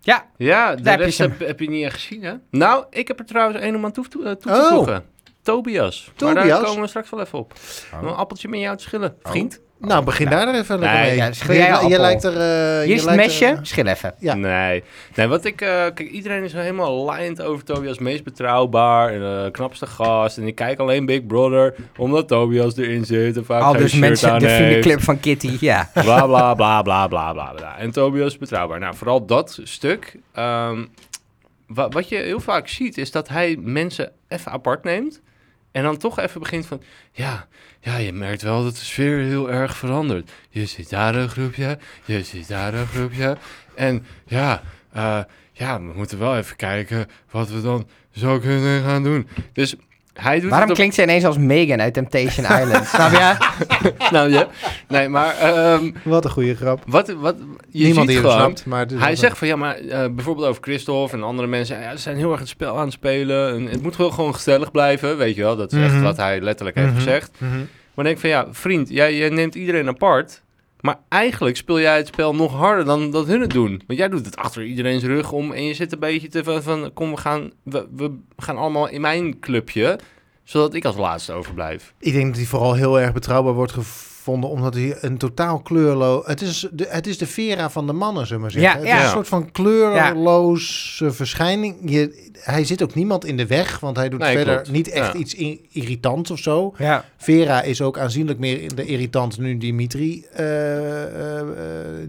Speaker 1: Ja,
Speaker 2: ja de
Speaker 1: Daar heb je
Speaker 2: rest
Speaker 1: hem.
Speaker 2: heb, heb je niet echt gezien, hè? Nou, ik heb er trouwens een om aan toe, eh, toe, toe te voegen. Tobias. Maar daar
Speaker 3: Oh. Tobias? Oh.
Speaker 2: komen we straks wel even op. Nog Een appeltje met jou te schillen, vriend.
Speaker 3: Nou, begin daar even lekker
Speaker 2: Nee,
Speaker 3: mee.
Speaker 1: ja, schil jij
Speaker 3: Je-
Speaker 1: een
Speaker 3: je
Speaker 1: appel.
Speaker 3: lijkt er... eh, je
Speaker 1: hier is het
Speaker 3: lijkt er-
Speaker 1: mesje. Schil even.
Speaker 3: Ja.
Speaker 2: Nee. nee, wat ik... eh, kijk, iedereen is helemaal aligned over Tobias. Meest betrouwbaar en eh, knapste gast. En ik kijk alleen Big Brother, omdat Tobias erin zit. En vaak
Speaker 1: Al
Speaker 2: geen
Speaker 1: dus
Speaker 2: shirt
Speaker 1: mensen,
Speaker 2: aan
Speaker 1: de
Speaker 2: heeft.
Speaker 1: videoclip van Kitty. Ja.
Speaker 2: Bla, bla, bla, bla, bla, bla, bla. En Tobias betrouwbaar. Nou, vooral dat stuk. ehm, wa- wat je heel vaak ziet, is dat hij mensen even apart neemt. En dan toch even begint van... Ja, ja, je merkt wel dat de sfeer heel erg verandert. Je ziet daar een groepje, je ziet daar een groepje. En ja, eh, ja we moeten wel even kijken wat we dan zo kunnen gaan doen. Dus hij doet het
Speaker 1: Waarom
Speaker 2: op-
Speaker 1: klinkt ze ineens als Megan uit Temptation Island? Snap je?
Speaker 2: Nou, ja. Nee, maar ehm,
Speaker 3: Wat een goede grap.
Speaker 2: wat, wat, je
Speaker 3: Niemand
Speaker 2: ziet
Speaker 3: die
Speaker 2: gewoon...
Speaker 3: het snapt, maar... het is
Speaker 2: Hij
Speaker 3: wel-
Speaker 2: zegt van ja, maar eh, bijvoorbeeld over Christophe en andere mensen. ja, ze zijn heel erg het spel aan het spelen. En het moet wel gewoon gezellig blijven. Weet je wel, dat is echt
Speaker 3: Mhm.
Speaker 2: wat hij letterlijk
Speaker 3: Mhm.
Speaker 2: heeft gezegd.
Speaker 3: Mhm.
Speaker 2: Maar dan denk ik van ja, vriend, jij, jij neemt iedereen apart. Maar eigenlijk speel jij het spel nog harder dan dat hun het doen. Want jij doet het achter iedereen's rug om. En je zit een beetje te van, van kom, we gaan, we, we gaan allemaal in mijn clubje. Zodat ik als laatste overblijf.
Speaker 3: Ik denk dat hij vooral heel erg betrouwbaar wordt gevonden, omdat hij een totaal kleurloos... Het is de, het is de Vera van de mannen, zullen we maar zeggen.
Speaker 1: Ja,
Speaker 3: het
Speaker 1: ja.
Speaker 3: is een soort van kleurloze verschijning. Je, hij zit ook niemand in de weg, want hij doet
Speaker 2: Nee,
Speaker 3: verder
Speaker 2: klopt.
Speaker 3: niet echt
Speaker 2: Ja.
Speaker 3: iets i- irritants of zo.
Speaker 1: Ja.
Speaker 3: Vera is ook aanzienlijk meer de irritant nu Dimitri eh, eh, eh,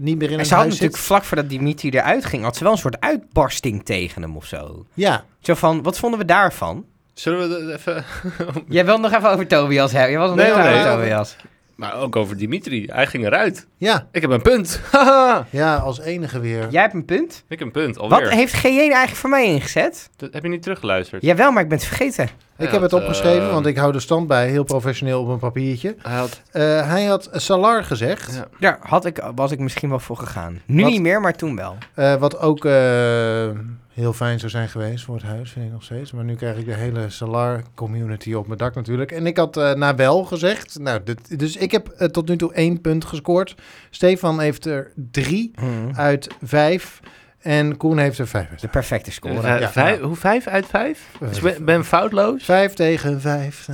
Speaker 3: niet meer in
Speaker 1: En
Speaker 3: het
Speaker 1: ze had
Speaker 3: huis
Speaker 1: natuurlijk
Speaker 3: zit.
Speaker 1: vlak voordat Dimitri eruit ging, had ze wel een soort uitbarsting tegen hem of zo.
Speaker 3: Ja,
Speaker 1: Zo van, wat vonden we daarvan?
Speaker 2: Zullen we dat even...
Speaker 1: Jij wil nog even over Tobias hebben. Je was nog
Speaker 3: Nee,
Speaker 1: niet
Speaker 3: nee,
Speaker 1: over
Speaker 3: nee.
Speaker 1: Tobias.
Speaker 2: Maar ook over Dimitri. Hij ging eruit.
Speaker 3: ja,
Speaker 2: Ik heb een punt. Haha.
Speaker 3: ja, als enige weer.
Speaker 1: Jij hebt een punt.
Speaker 2: ik heb een punt, alweer.
Speaker 1: Wat heeft G1 eigenlijk voor mij ingezet?
Speaker 2: Dat heb je niet teruggeluisterd.
Speaker 1: Jawel, maar ik ben het vergeten.
Speaker 3: Ik
Speaker 2: Ja,
Speaker 3: heb het
Speaker 2: dat,
Speaker 3: opgeschreven,
Speaker 2: eh,
Speaker 3: want ik hou de stand bij, heel professioneel op een papiertje.
Speaker 2: Hij had...
Speaker 3: Eh, hij had Salar gezegd.
Speaker 2: Ja.
Speaker 1: Daar had ik, was ik misschien wel voor gegaan. Nu
Speaker 3: Wat?
Speaker 1: niet meer, maar toen wel.
Speaker 3: Eh, wat ook eh, heel fijn zou zijn geweest voor het huis, vind ik nog steeds. Maar nu krijg ik de hele Salar-community op mijn dak natuurlijk. En ik had eh na wel gezegd. Nou, dit, dus ik heb eh, tot nu toe één punt gescoord. Stefan heeft er drie uit vijf. En Koen heeft er vijf uit.
Speaker 1: Hmm. De perfecte score.
Speaker 2: Eh,
Speaker 3: ja.
Speaker 2: vijf- Hoe vijf uit vijf?
Speaker 3: Eh,
Speaker 2: Dus ik ben, ben foutloos?
Speaker 3: Vijf tegen vijf.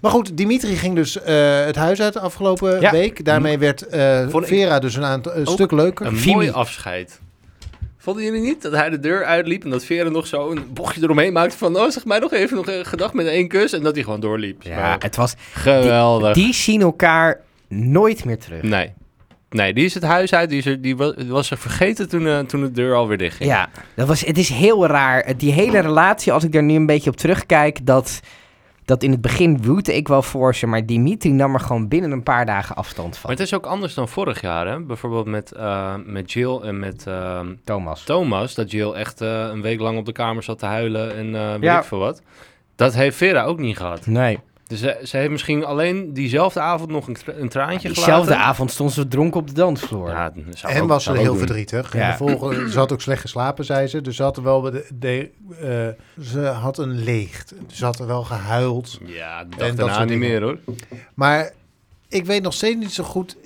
Speaker 3: Maar goed, Dimitri ging dus eh, het huis uit de afgelopen
Speaker 1: Ja.
Speaker 3: week. Daarmee werd eh,
Speaker 2: Vond ik
Speaker 3: Vera dus een, aantal, een
Speaker 2: ook
Speaker 3: stuk leuker.
Speaker 2: Een
Speaker 1: Vimi.
Speaker 2: mooi afscheid. Vonden jullie niet dat hij de deur uitliep en dat Vera nog zo een bochtje eromheen maakte van... Oh, zeg mij nog even nog een gedag met één kus en dat hij gewoon doorliep.
Speaker 1: Ja,
Speaker 2: Maar
Speaker 1: het was,
Speaker 2: geweldig.
Speaker 1: die zien elkaar nooit meer terug.
Speaker 2: Nee. Nee, die is het huis uit. Die, is er, die was, was er vergeten toen, eh, toen de deur alweer dicht ging.
Speaker 1: Ja, dat was, het is heel raar. Die hele relatie, als ik er nu een beetje op terugkijk, dat dat in het begin woette ik wel voor ze, maar Dimitri nam er gewoon binnen een paar dagen afstand van.
Speaker 2: Maar het is ook anders dan vorig jaar, hè? Bijvoorbeeld met, eh, met Jill en met eh,
Speaker 1: Thomas.
Speaker 2: Thomas, dat Jill echt eh, een week lang op de kamer zat te huilen en eh weet
Speaker 1: Ja.
Speaker 2: ik veel wat. Dat heeft Vera ook niet gehad.
Speaker 1: Nee.
Speaker 2: Dus ze, ze heeft misschien alleen diezelfde avond nog een, tra- een traantje
Speaker 1: Diezelfde
Speaker 2: gelaten.
Speaker 1: avond stond ze dronken op de dansvloer.
Speaker 2: Ja, dat zou
Speaker 3: En
Speaker 2: ook-
Speaker 3: was ze
Speaker 2: zou
Speaker 3: heel
Speaker 2: ook doen.
Speaker 3: verdrietig.
Speaker 1: Ja.
Speaker 3: En de volgende, ze had ook slecht geslapen, zei ze. Dus ze had er wel... De, de- eh, ze had een leegt. Ze had er wel gehuild.
Speaker 2: Ja, de
Speaker 3: En
Speaker 2: dag
Speaker 3: dat
Speaker 2: daarna
Speaker 3: soort
Speaker 2: niet
Speaker 3: dingen.
Speaker 2: meer hoor.
Speaker 3: Maar ik weet nog steeds niet zo goed...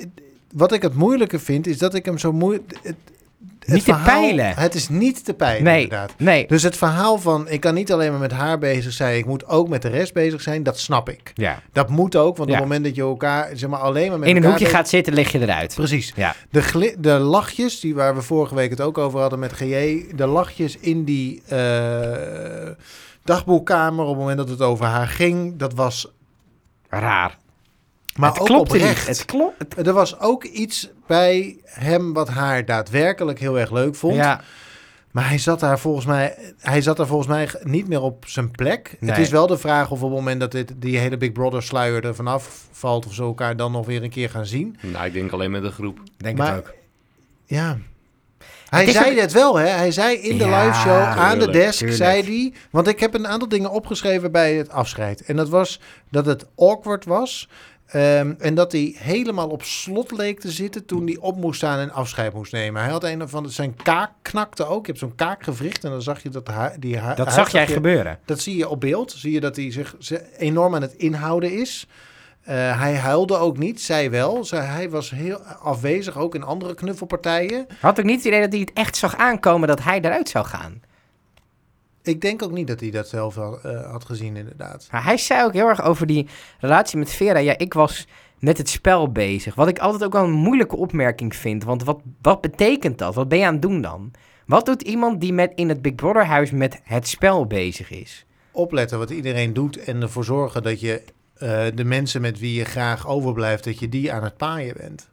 Speaker 3: Wat ik het moeilijke vind, is dat ik hem zo moeilijk... Het, het
Speaker 1: Niet te peilen.
Speaker 3: Het is niet te peilen,
Speaker 1: nee,
Speaker 3: inderdaad.
Speaker 1: nee.
Speaker 3: Dus het verhaal van, ik kan niet alleen maar met haar bezig zijn... ik moet ook met de rest bezig zijn, dat snap ik.
Speaker 1: Ja.
Speaker 3: Dat moet ook, want op
Speaker 1: Ja.
Speaker 3: het moment dat je elkaar zeg maar, alleen maar met
Speaker 1: In een
Speaker 3: elkaar
Speaker 1: hoekje
Speaker 3: bezig-
Speaker 1: gaat zitten, lig je eruit.
Speaker 3: Precies.
Speaker 1: Ja.
Speaker 3: De, gli- de lachjes, die waar we vorige week het ook over hadden met GJ, de lachjes in die eh, dagboekkamer op het moment dat het over haar ging, dat was.
Speaker 1: Raar.
Speaker 3: Maar
Speaker 1: het
Speaker 3: ook
Speaker 1: klopt
Speaker 3: oprecht.
Speaker 1: Het klopt. het-
Speaker 3: Er was ook iets bij hem wat haar daadwerkelijk heel erg leuk vond.
Speaker 1: Ja,
Speaker 3: Maar hij zat, daar volgens mij, hij zat daar volgens mij niet meer op zijn plek. Het
Speaker 1: Nee.
Speaker 3: is wel de vraag of op het moment dat dit, die hele Big Brother sluier er vanaf valt... of ze elkaar dan nog weer een keer gaan zien.
Speaker 2: Nou, ik denk alleen met een groep.
Speaker 1: denk
Speaker 3: Maar-
Speaker 1: het ook.
Speaker 3: Ja. Hij
Speaker 1: Het is
Speaker 3: zei
Speaker 1: ook-
Speaker 3: dat wel, hè? Hij zei in de
Speaker 1: Ja,
Speaker 3: live show aan de
Speaker 2: tuurlijk,
Speaker 3: desk,
Speaker 1: tuurlijk.
Speaker 3: zei hij... Want ik heb een aantal dingen opgeschreven bij het afscheid. En dat was dat het awkward was... ehm, en dat hij helemaal op slot leek te zitten toen hij op moest staan en afscheid moest nemen. Hij had een van zijn kaak knakte ook. Je hebt zo'n kaakgewricht en dan zag je dat haar, die haar,
Speaker 1: Dat
Speaker 3: haar-
Speaker 1: zag jij
Speaker 3: je-
Speaker 1: gebeuren.
Speaker 3: Dat zie je op beeld. Zie je dat hij zich ze- enorm aan het inhouden is. Eh, hij huilde ook niet, zij wel. Zij, hij was heel afwezig, ook in andere knuffelpartijen.
Speaker 1: Had ook niet het idee dat hij het echt zag aankomen dat hij eruit zou gaan.
Speaker 3: Ik denk ook niet dat hij dat zelf wel, eh, had gezien, inderdaad.
Speaker 1: Maar hij zei ook heel erg over die relatie met Vera. Ja, ik was met het spel bezig. Wat ik altijd ook wel een moeilijke opmerking vind. Want wat, wat betekent dat? Wat ben je aan het doen dan? Wat doet iemand die met, in het Big Brother huis met het spel bezig is?
Speaker 3: Opletten wat iedereen doet en ervoor zorgen dat je eh, de mensen met wie je graag overblijft, dat je die aan het paaien bent.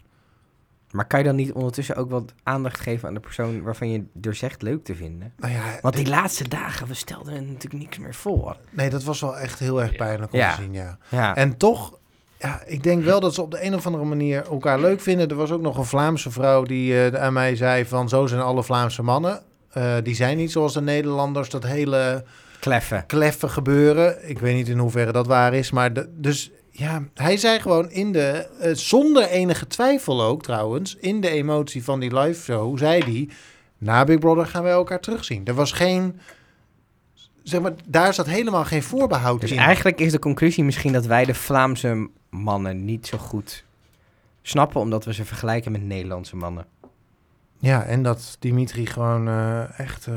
Speaker 1: Maar kan je dan niet ondertussen ook wat aandacht geven aan de persoon waarvan je er zegt leuk te vinden?
Speaker 3: Nou ja,
Speaker 1: Want
Speaker 3: dit-
Speaker 1: die laatste dagen, we stelden er natuurlijk niks meer voor.
Speaker 3: nee, dat was wel echt heel erg pijnlijk om
Speaker 1: Ja.
Speaker 3: te zien, ja.
Speaker 1: Ja,
Speaker 3: En toch, ja, ik denk wel dat ze op de een of andere manier elkaar leuk vinden. Er was ook nog een Vlaamse vrouw die eh, aan mij zei van zo zijn alle Vlaamse mannen. Eh, die zijn niet zoals de Nederlanders, dat hele
Speaker 1: kleffen.
Speaker 3: kleffe gebeuren. Ik weet niet in hoeverre dat waar is, maar de- dus ja, hij zei gewoon in de, eh, zonder enige twijfel ook trouwens, in de emotie van die live show, zei hij, na Big Brother gaan wij elkaar terugzien. Er was geen, zeg maar, daar zat helemaal geen voorbehoud
Speaker 1: Dus
Speaker 3: in.
Speaker 1: eigenlijk is de conclusie misschien dat wij de Vlaamse mannen niet zo goed snappen, omdat we ze vergelijken met Nederlandse mannen.
Speaker 3: Ja, en dat Dimitri gewoon eh, echt eh,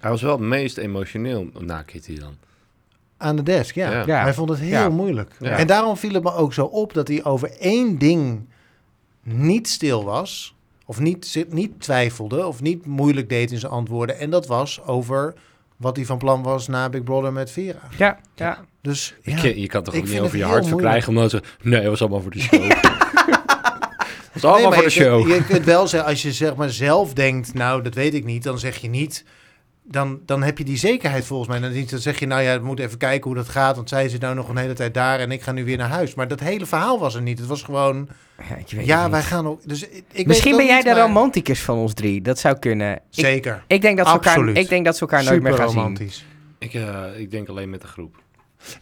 Speaker 2: Hij was wel het meest emotioneel na Kitty dan.
Speaker 3: aan de desk, ja.
Speaker 2: Ja.
Speaker 1: Ja.
Speaker 3: Hij vond het heel
Speaker 1: Ja.
Speaker 3: moeilijk.
Speaker 2: Ja.
Speaker 3: En daarom viel het me ook zo op dat hij over één ding niet stil was... of niet, zit- niet twijfelde of niet moeilijk deed in zijn antwoorden. En dat was over wat hij van plan was na Big Brother met Vera.
Speaker 1: Ja, ja.
Speaker 3: Dus
Speaker 2: Je
Speaker 3: ja,
Speaker 2: kan- Je kan toch
Speaker 3: Ik
Speaker 2: ook niet
Speaker 3: vind
Speaker 2: over
Speaker 3: het
Speaker 2: je
Speaker 3: heel
Speaker 2: hart verkrijgen omdat ze... Nee, het was allemaal voor de show. Het was allemaal
Speaker 3: Nee, maar
Speaker 2: voor de
Speaker 3: je kunt-
Speaker 2: show.
Speaker 3: Je, kunt wel zeggen, als je zeg maar zelf denkt, nou dat weet ik niet, dan zeg je niet. Dan, dan heb je die zekerheid volgens mij. Dan, niet- dan zeg je, nou ja, we moeten even kijken hoe dat gaat. Want zij zit nou nog een hele tijd daar en ik ga nu weer naar huis. Maar dat hele verhaal was er niet. Het was gewoon,
Speaker 1: Ja, ik weet
Speaker 3: ja,
Speaker 1: het
Speaker 3: wij
Speaker 1: niet.
Speaker 3: gaan ook. Dus ik- ik
Speaker 1: Misschien
Speaker 3: weet
Speaker 1: ben
Speaker 3: het
Speaker 1: jij
Speaker 3: ook
Speaker 1: de
Speaker 3: niet, maar-
Speaker 1: romanticus van ons drie. Dat zou kunnen. Ik,
Speaker 3: Zeker.
Speaker 1: ik, denk dat ze elkaar,
Speaker 3: Absoluut.
Speaker 1: ik denk dat ze elkaar nooit
Speaker 3: Super
Speaker 1: meer gaan zien.
Speaker 3: romantisch.
Speaker 2: Ik, eh, ik denk alleen met de groep.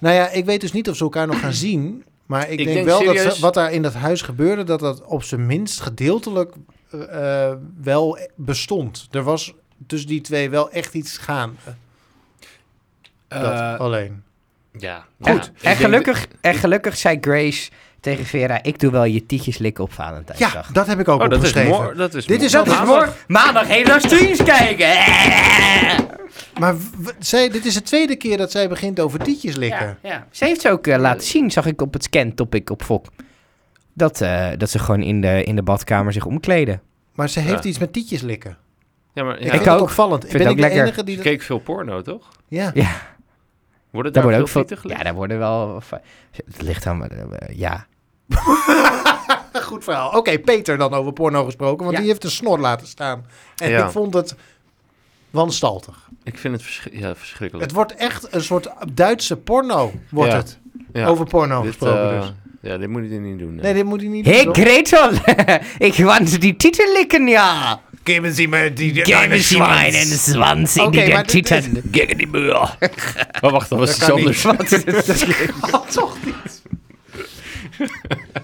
Speaker 3: Nou ja, ik weet dus niet of ze elkaar nog gaan zien. Maar ik, denk,
Speaker 2: denk
Speaker 3: wel dat
Speaker 2: serieus-
Speaker 3: ze- wat daar in dat huis gebeurde, dat dat op zijn minst gedeeltelijk eh, eh, wel bestond. Er was tussen die twee wel echt iets gaande.
Speaker 2: Eh,
Speaker 3: dat oh. alleen.
Speaker 2: ja.
Speaker 1: Goed.
Speaker 2: Ja, ik
Speaker 1: en,
Speaker 2: denk-
Speaker 1: gelukkig, en gelukkig zei Grace tegen Vera: Ik doe wel je tietjes likken op Valentijnsdag.
Speaker 3: Ja, dat heb ik ook
Speaker 2: Oh, dat is
Speaker 3: opgeschreven.
Speaker 2: mooi. Dat is
Speaker 3: Dit
Speaker 2: mooi.
Speaker 3: is ook-
Speaker 1: Dat is morgen. Maandag heel naar streams kijken.
Speaker 3: Maar w- w- zij, dit is de tweede keer dat zij begint over tietjes likken.
Speaker 1: Ja, ja. Ze heeft ze ook eh, laten zien, zag ik op het scan-topic op Fok. Dat, eh, dat ze gewoon in de, in de badkamer zich omkleden.
Speaker 3: Maar ze heeft
Speaker 2: Ja.
Speaker 3: iets met tietjes likken.
Speaker 2: Ja, maar
Speaker 3: Ik
Speaker 2: ja,
Speaker 3: vind
Speaker 1: ook.
Speaker 3: dat opvallend. Ik
Speaker 1: Vind
Speaker 3: ben
Speaker 1: het
Speaker 3: ik de
Speaker 1: ook lekker.
Speaker 3: enige die
Speaker 2: je
Speaker 3: dat...
Speaker 2: keek veel porno, toch?
Speaker 3: Ja.
Speaker 1: Ja, daar
Speaker 2: Worden daar,
Speaker 1: worden ook
Speaker 2: ook
Speaker 1: veel.
Speaker 2: veel
Speaker 1: Ja,
Speaker 2: Ja,
Speaker 1: daar worden wel. va- Het ligt aan. eh, ja.
Speaker 3: Goed verhaal. Oké, Peter dan over porno gesproken, want
Speaker 1: Ja.
Speaker 3: die heeft een snor laten staan. En
Speaker 2: Ja.
Speaker 3: ik vond het... wanstaltig.
Speaker 2: Ik vind het verschri- ja, verschrikkelijk.
Speaker 3: Het wordt echt een soort Duitse porno, wordt
Speaker 2: Ja.
Speaker 3: het.
Speaker 2: ja,
Speaker 3: Over porno
Speaker 2: dit,
Speaker 3: gesproken
Speaker 2: eh,
Speaker 3: dus.
Speaker 2: Ja, dit moet je niet doen.
Speaker 3: Nee, dit moet hij niet
Speaker 1: Hey
Speaker 3: doen.
Speaker 1: Gretel, ik wou die titel likken, ja.
Speaker 3: Geven Sie mir die, die
Speaker 1: Geven ze mij een zwans in
Speaker 3: Oké,
Speaker 1: die
Speaker 3: maar dit
Speaker 1: titel. Gegen die muur.
Speaker 2: Maar Oh, wacht, dat was
Speaker 3: Dat
Speaker 2: iets
Speaker 3: kan
Speaker 2: anders.
Speaker 3: Kan toch niet?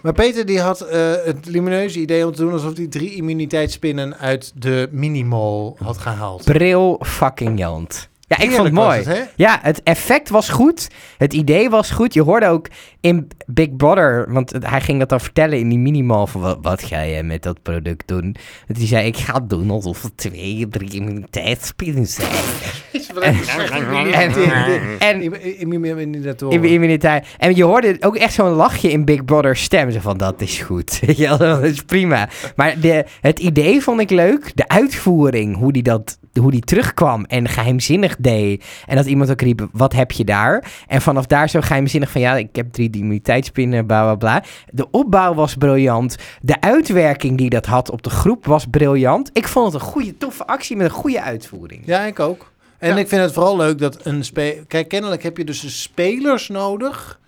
Speaker 3: maar Peter die had eh, het lumineuze idee om te doen alsof hij drie immuniteitsspinnen uit de minimal had gehaald.
Speaker 1: Bril fucking jant. Ja, ik vond het
Speaker 3: Heerlijk was
Speaker 1: mooi.
Speaker 3: hè?
Speaker 1: Ja, het effect was goed. Het idee was goed. Je hoorde ook in Big Brother, want het- hij ging dat dan vertellen in die minimal van wat, wat ga je met dat product doen. Dat hij zei, ik ga doen alsof het twee, drie immuniteitsspinnen zijn. En in
Speaker 3: Immuniteit.
Speaker 1: immuniteit. En je hoorde ook echt zo'n lachje in Big Brother's stem. Zo van, dat is goed. Weet je wel, dat is prima. Maar de, het idee vond ik leuk. De uitvoering, hoe die, dat, hoe die terugkwam en geheimzinnig deed. En dat iemand ook riep, wat heb je daar? En vanaf daar zo geheimzinnig van, ja, ik heb drie immuniteitspinnen, bla, bla, bla. De opbouw was briljant. De uitwerking die dat had op de groep was briljant. Ik vond het een goede, toffe actie met een goede uitvoering.
Speaker 3: Ja, ik ook. En
Speaker 1: Ja.
Speaker 3: ik vind het vooral leuk dat een speler... Kijk, kennelijk heb je dus de spelers nodig...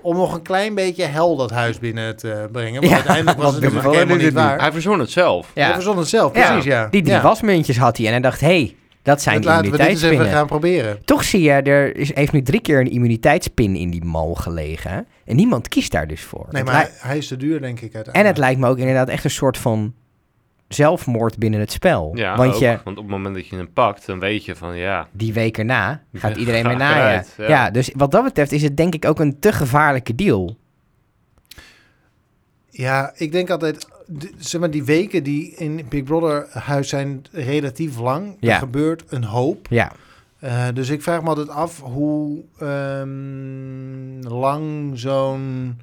Speaker 3: om nog een klein beetje hel dat huis binnen te brengen. Want
Speaker 1: Ja,
Speaker 3: uiteindelijk was het
Speaker 1: want
Speaker 3: natuurlijk
Speaker 1: we
Speaker 3: helemaal
Speaker 1: willen
Speaker 3: niet
Speaker 1: dit
Speaker 3: waar.
Speaker 2: Hij verzon het zelf.
Speaker 3: Hij verzon het zelf,
Speaker 1: Ja.
Speaker 3: precies, ja.
Speaker 1: Die drie
Speaker 3: Ja.
Speaker 1: wasmuntjes had hij en hij dacht, hé, hey, dat zijn
Speaker 3: Dat laten we dit eens even
Speaker 1: immuniteitspinnen.
Speaker 3: gaan proberen.
Speaker 1: Toch zie je, er is, heeft nu drie keer een immuniteitspin in die mal gelegen. hè? En niemand kiest daar dus voor.
Speaker 3: Nee,
Speaker 1: Het
Speaker 3: maar
Speaker 1: lijkt-
Speaker 3: hij, hij is te duur, denk ik,
Speaker 1: en het
Speaker 3: uiteindelijk.
Speaker 1: lijkt me ook inderdaad echt een soort van zelfmoord binnen het spel.
Speaker 2: Ja,
Speaker 1: Want
Speaker 2: ook,
Speaker 1: je,
Speaker 2: want op het moment dat je hem pakt, dan weet je van ja.
Speaker 1: die week erna gaat
Speaker 2: Ja,
Speaker 1: iedereen weer
Speaker 2: ga
Speaker 1: na je.
Speaker 2: eruit,
Speaker 1: Ja.
Speaker 2: ja.
Speaker 1: dus wat dat betreft is het denk ik ook een te gevaarlijke deal.
Speaker 3: Ja, ik denk altijd... d- Zeg maar, die weken die in Big Brother huis zijn relatief lang.
Speaker 1: Ja.
Speaker 3: Er gebeurt een hoop.
Speaker 1: Ja,
Speaker 3: Eh, dus ik vraag me altijd af hoe ehm, lang zo'n...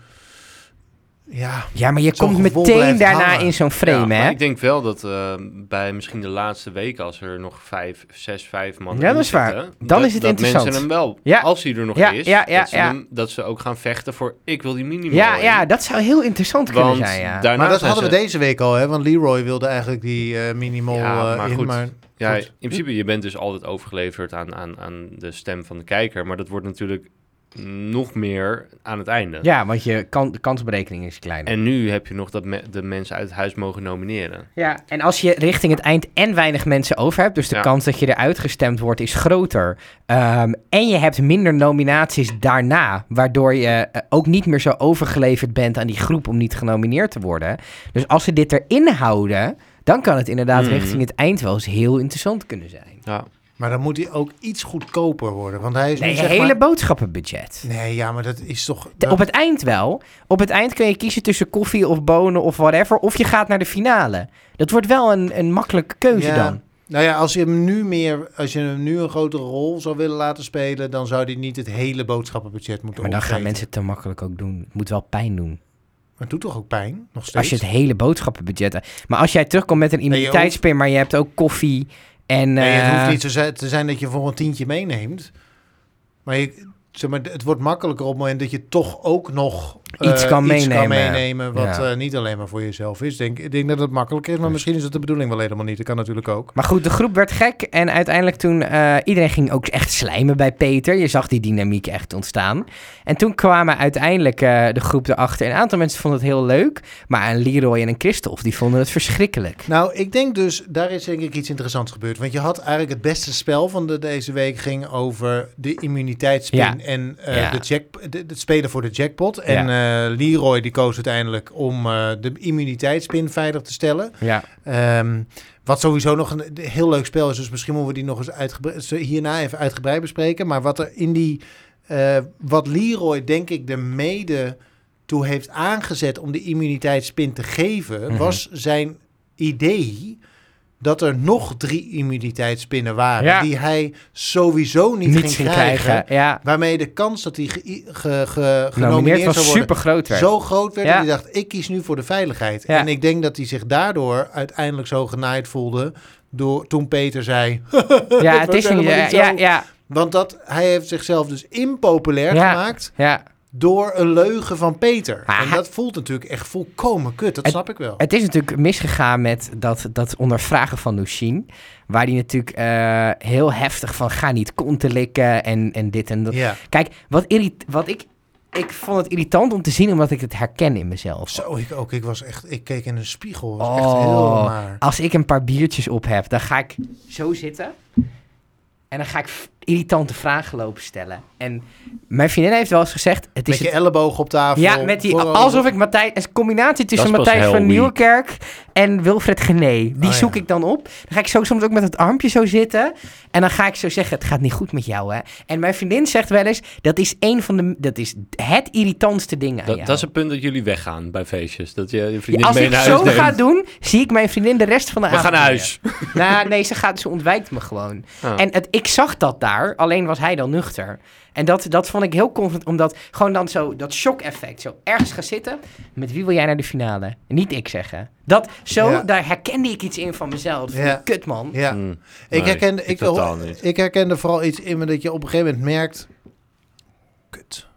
Speaker 3: Ja,
Speaker 1: ja maar je
Speaker 3: Zo'n
Speaker 1: komt
Speaker 3: gevoel
Speaker 1: meteen
Speaker 3: blijft
Speaker 1: daarna
Speaker 3: hangen.
Speaker 1: in zo'n
Speaker 2: Ja,
Speaker 1: frame,
Speaker 2: maar
Speaker 1: hè?
Speaker 2: ik denk wel dat eh, bij misschien de laatste weken, als er nog vijf, zes, vijf mannen
Speaker 1: Ja, dat is
Speaker 2: in
Speaker 1: waar.
Speaker 2: zitten,
Speaker 1: Dan is het
Speaker 2: dat
Speaker 1: interessant.
Speaker 2: mensen hem wel,
Speaker 1: Ja.
Speaker 2: als hij er nog
Speaker 1: Ja,
Speaker 2: is,
Speaker 1: ja, ja,
Speaker 2: dat, ze
Speaker 1: ja.
Speaker 2: hem- dat ze ook gaan vechten voor ik wil die minimaal.
Speaker 1: Ja, ja, dat zou heel interessant kunnen
Speaker 2: want
Speaker 1: zijn, ja.
Speaker 2: daarna
Speaker 3: maar dat
Speaker 2: zijn
Speaker 3: hadden we
Speaker 2: ze-
Speaker 3: deze week al, hè? Want Leroy wilde eigenlijk die eh, minimal
Speaker 2: Ja,
Speaker 3: eh,
Speaker 2: maar
Speaker 3: in,
Speaker 2: goed.
Speaker 3: maar...
Speaker 2: Ja,
Speaker 3: Goed.
Speaker 2: in principe, je bent dus altijd overgeleverd aan, aan, aan de stem van de kijker, maar dat wordt natuurlijk nog meer aan het einde.
Speaker 1: Ja, want je kan, de kansberekening is kleiner.
Speaker 2: En nu heb je nog dat me- de mensen uit huis mogen nomineren.
Speaker 1: Ja, en als je richting het eind en weinig mensen over hebt, dus de
Speaker 2: Ja.
Speaker 1: kans dat je eruit gestemd wordt is groter. Ehm, en je hebt minder nominaties daarna, waardoor je eh, ook niet meer zo overgeleverd bent aan die groep om niet genomineerd te worden. Dus als ze dit erin houden, dan kan het inderdaad
Speaker 2: Mhm.
Speaker 1: richting het eind wel eens heel interessant kunnen zijn.
Speaker 2: Ja.
Speaker 3: Maar dan moet hij ook iets goedkoper worden. Want hij is
Speaker 1: Nee,
Speaker 3: Dus nu
Speaker 1: een
Speaker 3: zeg
Speaker 1: hele
Speaker 3: maar-
Speaker 1: boodschappenbudget.
Speaker 3: Nee, ja, maar dat is toch...
Speaker 1: Te-
Speaker 3: dat-
Speaker 1: Op het eind wel. Op het eind kun je kiezen tussen koffie of bonen of whatever. Of je gaat naar de finale. Dat wordt wel een, een makkelijke keuze
Speaker 3: Ja.
Speaker 1: dan.
Speaker 3: Nou ja, als je hem nu meer... Als je hem nu een grotere rol zou willen laten spelen... dan zou hij niet het hele boodschappenbudget moeten
Speaker 1: Maar dan gaan
Speaker 3: opvreten.
Speaker 1: mensen het te makkelijk ook doen. Het moet wel pijn doen.
Speaker 3: Maar het doet toch ook pijn? Nog steeds?
Speaker 1: Als je het hele boodschappenbudget... Maar als jij terugkomt met een
Speaker 3: je
Speaker 1: immuniteitspin, maar je hebt ook koffie en...
Speaker 3: Nee, het
Speaker 1: eh,
Speaker 3: hoeft niet zo zijn- te zijn dat je voor een tientje meeneemt. Maar, je, zeg maar het wordt makkelijker op het moment dat je toch ook nog eh,
Speaker 1: Iets kan meenemen.
Speaker 3: meenemen wat
Speaker 1: Ja.
Speaker 3: eh, niet alleen maar voor jezelf is. Denk, ik denk dat het makkelijker is, maar misschien is dat de bedoeling wel helemaal niet. Dat kan natuurlijk ook.
Speaker 1: Maar goed, de groep werd gek en uiteindelijk toen... eh, iedereen ging ook echt slijmen bij Peter. Je zag die dynamiek echt ontstaan. En toen kwamen uiteindelijk eh, de groep erachter. Een aantal mensen vonden het heel leuk. Maar een Leroy en een Christophe, die vonden het verschrikkelijk.
Speaker 3: Nou, ik denk dus, daar is denk ik iets interessants gebeurd. Want je had eigenlijk het beste spel van de, deze week ging over de immuniteitspin
Speaker 1: Ja.
Speaker 3: en eh,
Speaker 1: Ja.
Speaker 3: de jack, de, het spelen voor de jackpot. En eh, Leroy die koos uiteindelijk om eh, de immuniteitspin veilig te stellen.
Speaker 1: Ja.
Speaker 3: Ehm, wat sowieso nog een een heel leuk spel is, dus misschien moeten we die nog eens uitgebre- zo- hierna even uitgebreid bespreken. Maar wat er in die, eh, wat Leroy denk ik de mede toe heeft aangezet om de immuniteitspin te geven,
Speaker 1: Mhm.
Speaker 3: was zijn idee dat er nog drie immuniteitspinnen waren
Speaker 1: Ja.
Speaker 3: die hij sowieso niet, ging, krijgen,
Speaker 1: Ja. Nou,
Speaker 3: Waarmee de kans dat hij ge- ge- ge-
Speaker 1: Genomineerd
Speaker 3: genomineerd zou
Speaker 1: was
Speaker 3: worden
Speaker 1: super groot werd.
Speaker 3: zo groot werd.
Speaker 1: Ja.
Speaker 3: En die dacht, ik kies nu voor de veiligheid.
Speaker 1: Ja.
Speaker 3: En ik denk dat hij zich daardoor uiteindelijk zo genaaid voelde. Door, toen Peter zei.
Speaker 1: ja, het is
Speaker 3: was
Speaker 1: niet,
Speaker 3: helemaal
Speaker 1: ja,
Speaker 3: niet zo.
Speaker 1: ja, ja,
Speaker 3: Want dat, hij heeft zichzelf dus impopulair
Speaker 1: Ja.
Speaker 3: gemaakt.
Speaker 1: ja.
Speaker 3: door een leugen van Peter.
Speaker 1: Ah.
Speaker 3: En dat voelt natuurlijk echt volkomen kut. Dat
Speaker 1: Het-
Speaker 3: snap ik wel.
Speaker 1: Het is natuurlijk misgegaan met dat, dat ondervragen van Nushin. Waar die natuurlijk eh, heel heftig van ga niet konten likken en, en dit en dat.
Speaker 3: ja.
Speaker 1: Kijk, wat, irrit- wat ik, ik vond het irritant om te zien omdat ik het herken in mezelf.
Speaker 3: Zo, ik ook. Ik, was echt, ik keek in een spiegel. Het was echt heel
Speaker 1: Oh,
Speaker 3: maar.
Speaker 1: als ik een paar biertjes op heb, dan ga ik zo zitten. En dan ga ik f- irritante vragen lopen stellen. En mijn vriendin heeft wel eens gezegd... Het
Speaker 3: Met
Speaker 1: is
Speaker 3: je elleboog op tafel.
Speaker 1: Ja, met die,
Speaker 3: voorover.
Speaker 1: alsof ik Matthijs, een combinatie tussen
Speaker 2: Dat is pas
Speaker 1: Matthijs van
Speaker 2: heel weak.
Speaker 1: Nieuwkerk en Wilfred Gené. Die
Speaker 3: Ah,
Speaker 1: zoek
Speaker 3: ja.
Speaker 1: ik dan op. Dan ga ik zo soms ook met het armpje zo zitten. En dan ga ik zo zeggen, het gaat niet goed met jou, hè. En mijn vriendin zegt wel eens, dat is een van de, dat is het irritantste ding aan
Speaker 2: Dat,
Speaker 1: jou.
Speaker 2: dat is het punt dat jullie weggaan bij feestjes. Dat je je
Speaker 1: Ja,
Speaker 2: vriendin
Speaker 1: als
Speaker 2: mee
Speaker 1: ik
Speaker 2: naar
Speaker 1: zo
Speaker 2: huis neemt.
Speaker 1: ga doen, zie ik mijn vriendin de rest van de
Speaker 2: We
Speaker 1: avond.
Speaker 2: gaan naar
Speaker 1: niet
Speaker 2: huis.
Speaker 1: meer. Nou, nee, ze, gaat, ze ontwijkt me gewoon.
Speaker 2: Ah.
Speaker 1: En het, ik zag dat daar, alleen was hij dan nuchter. En dat, dat vond ik heel confident, omdat gewoon dan zo dat shock-effect. Zo ergens gaan zitten, met wie wil jij naar de finale? Niet ik zeggen. Dat, zo,
Speaker 3: Ja.
Speaker 1: daar herkende ik iets in van mezelf.
Speaker 3: Ja.
Speaker 1: Kut, man.
Speaker 3: Ja.
Speaker 2: Mm.
Speaker 3: Ik,
Speaker 2: Nee,
Speaker 3: herkende, ik,
Speaker 2: totaal
Speaker 3: ho-
Speaker 2: niet.
Speaker 3: ik herkende vooral iets in me dat je op een gegeven moment merkt... Kut,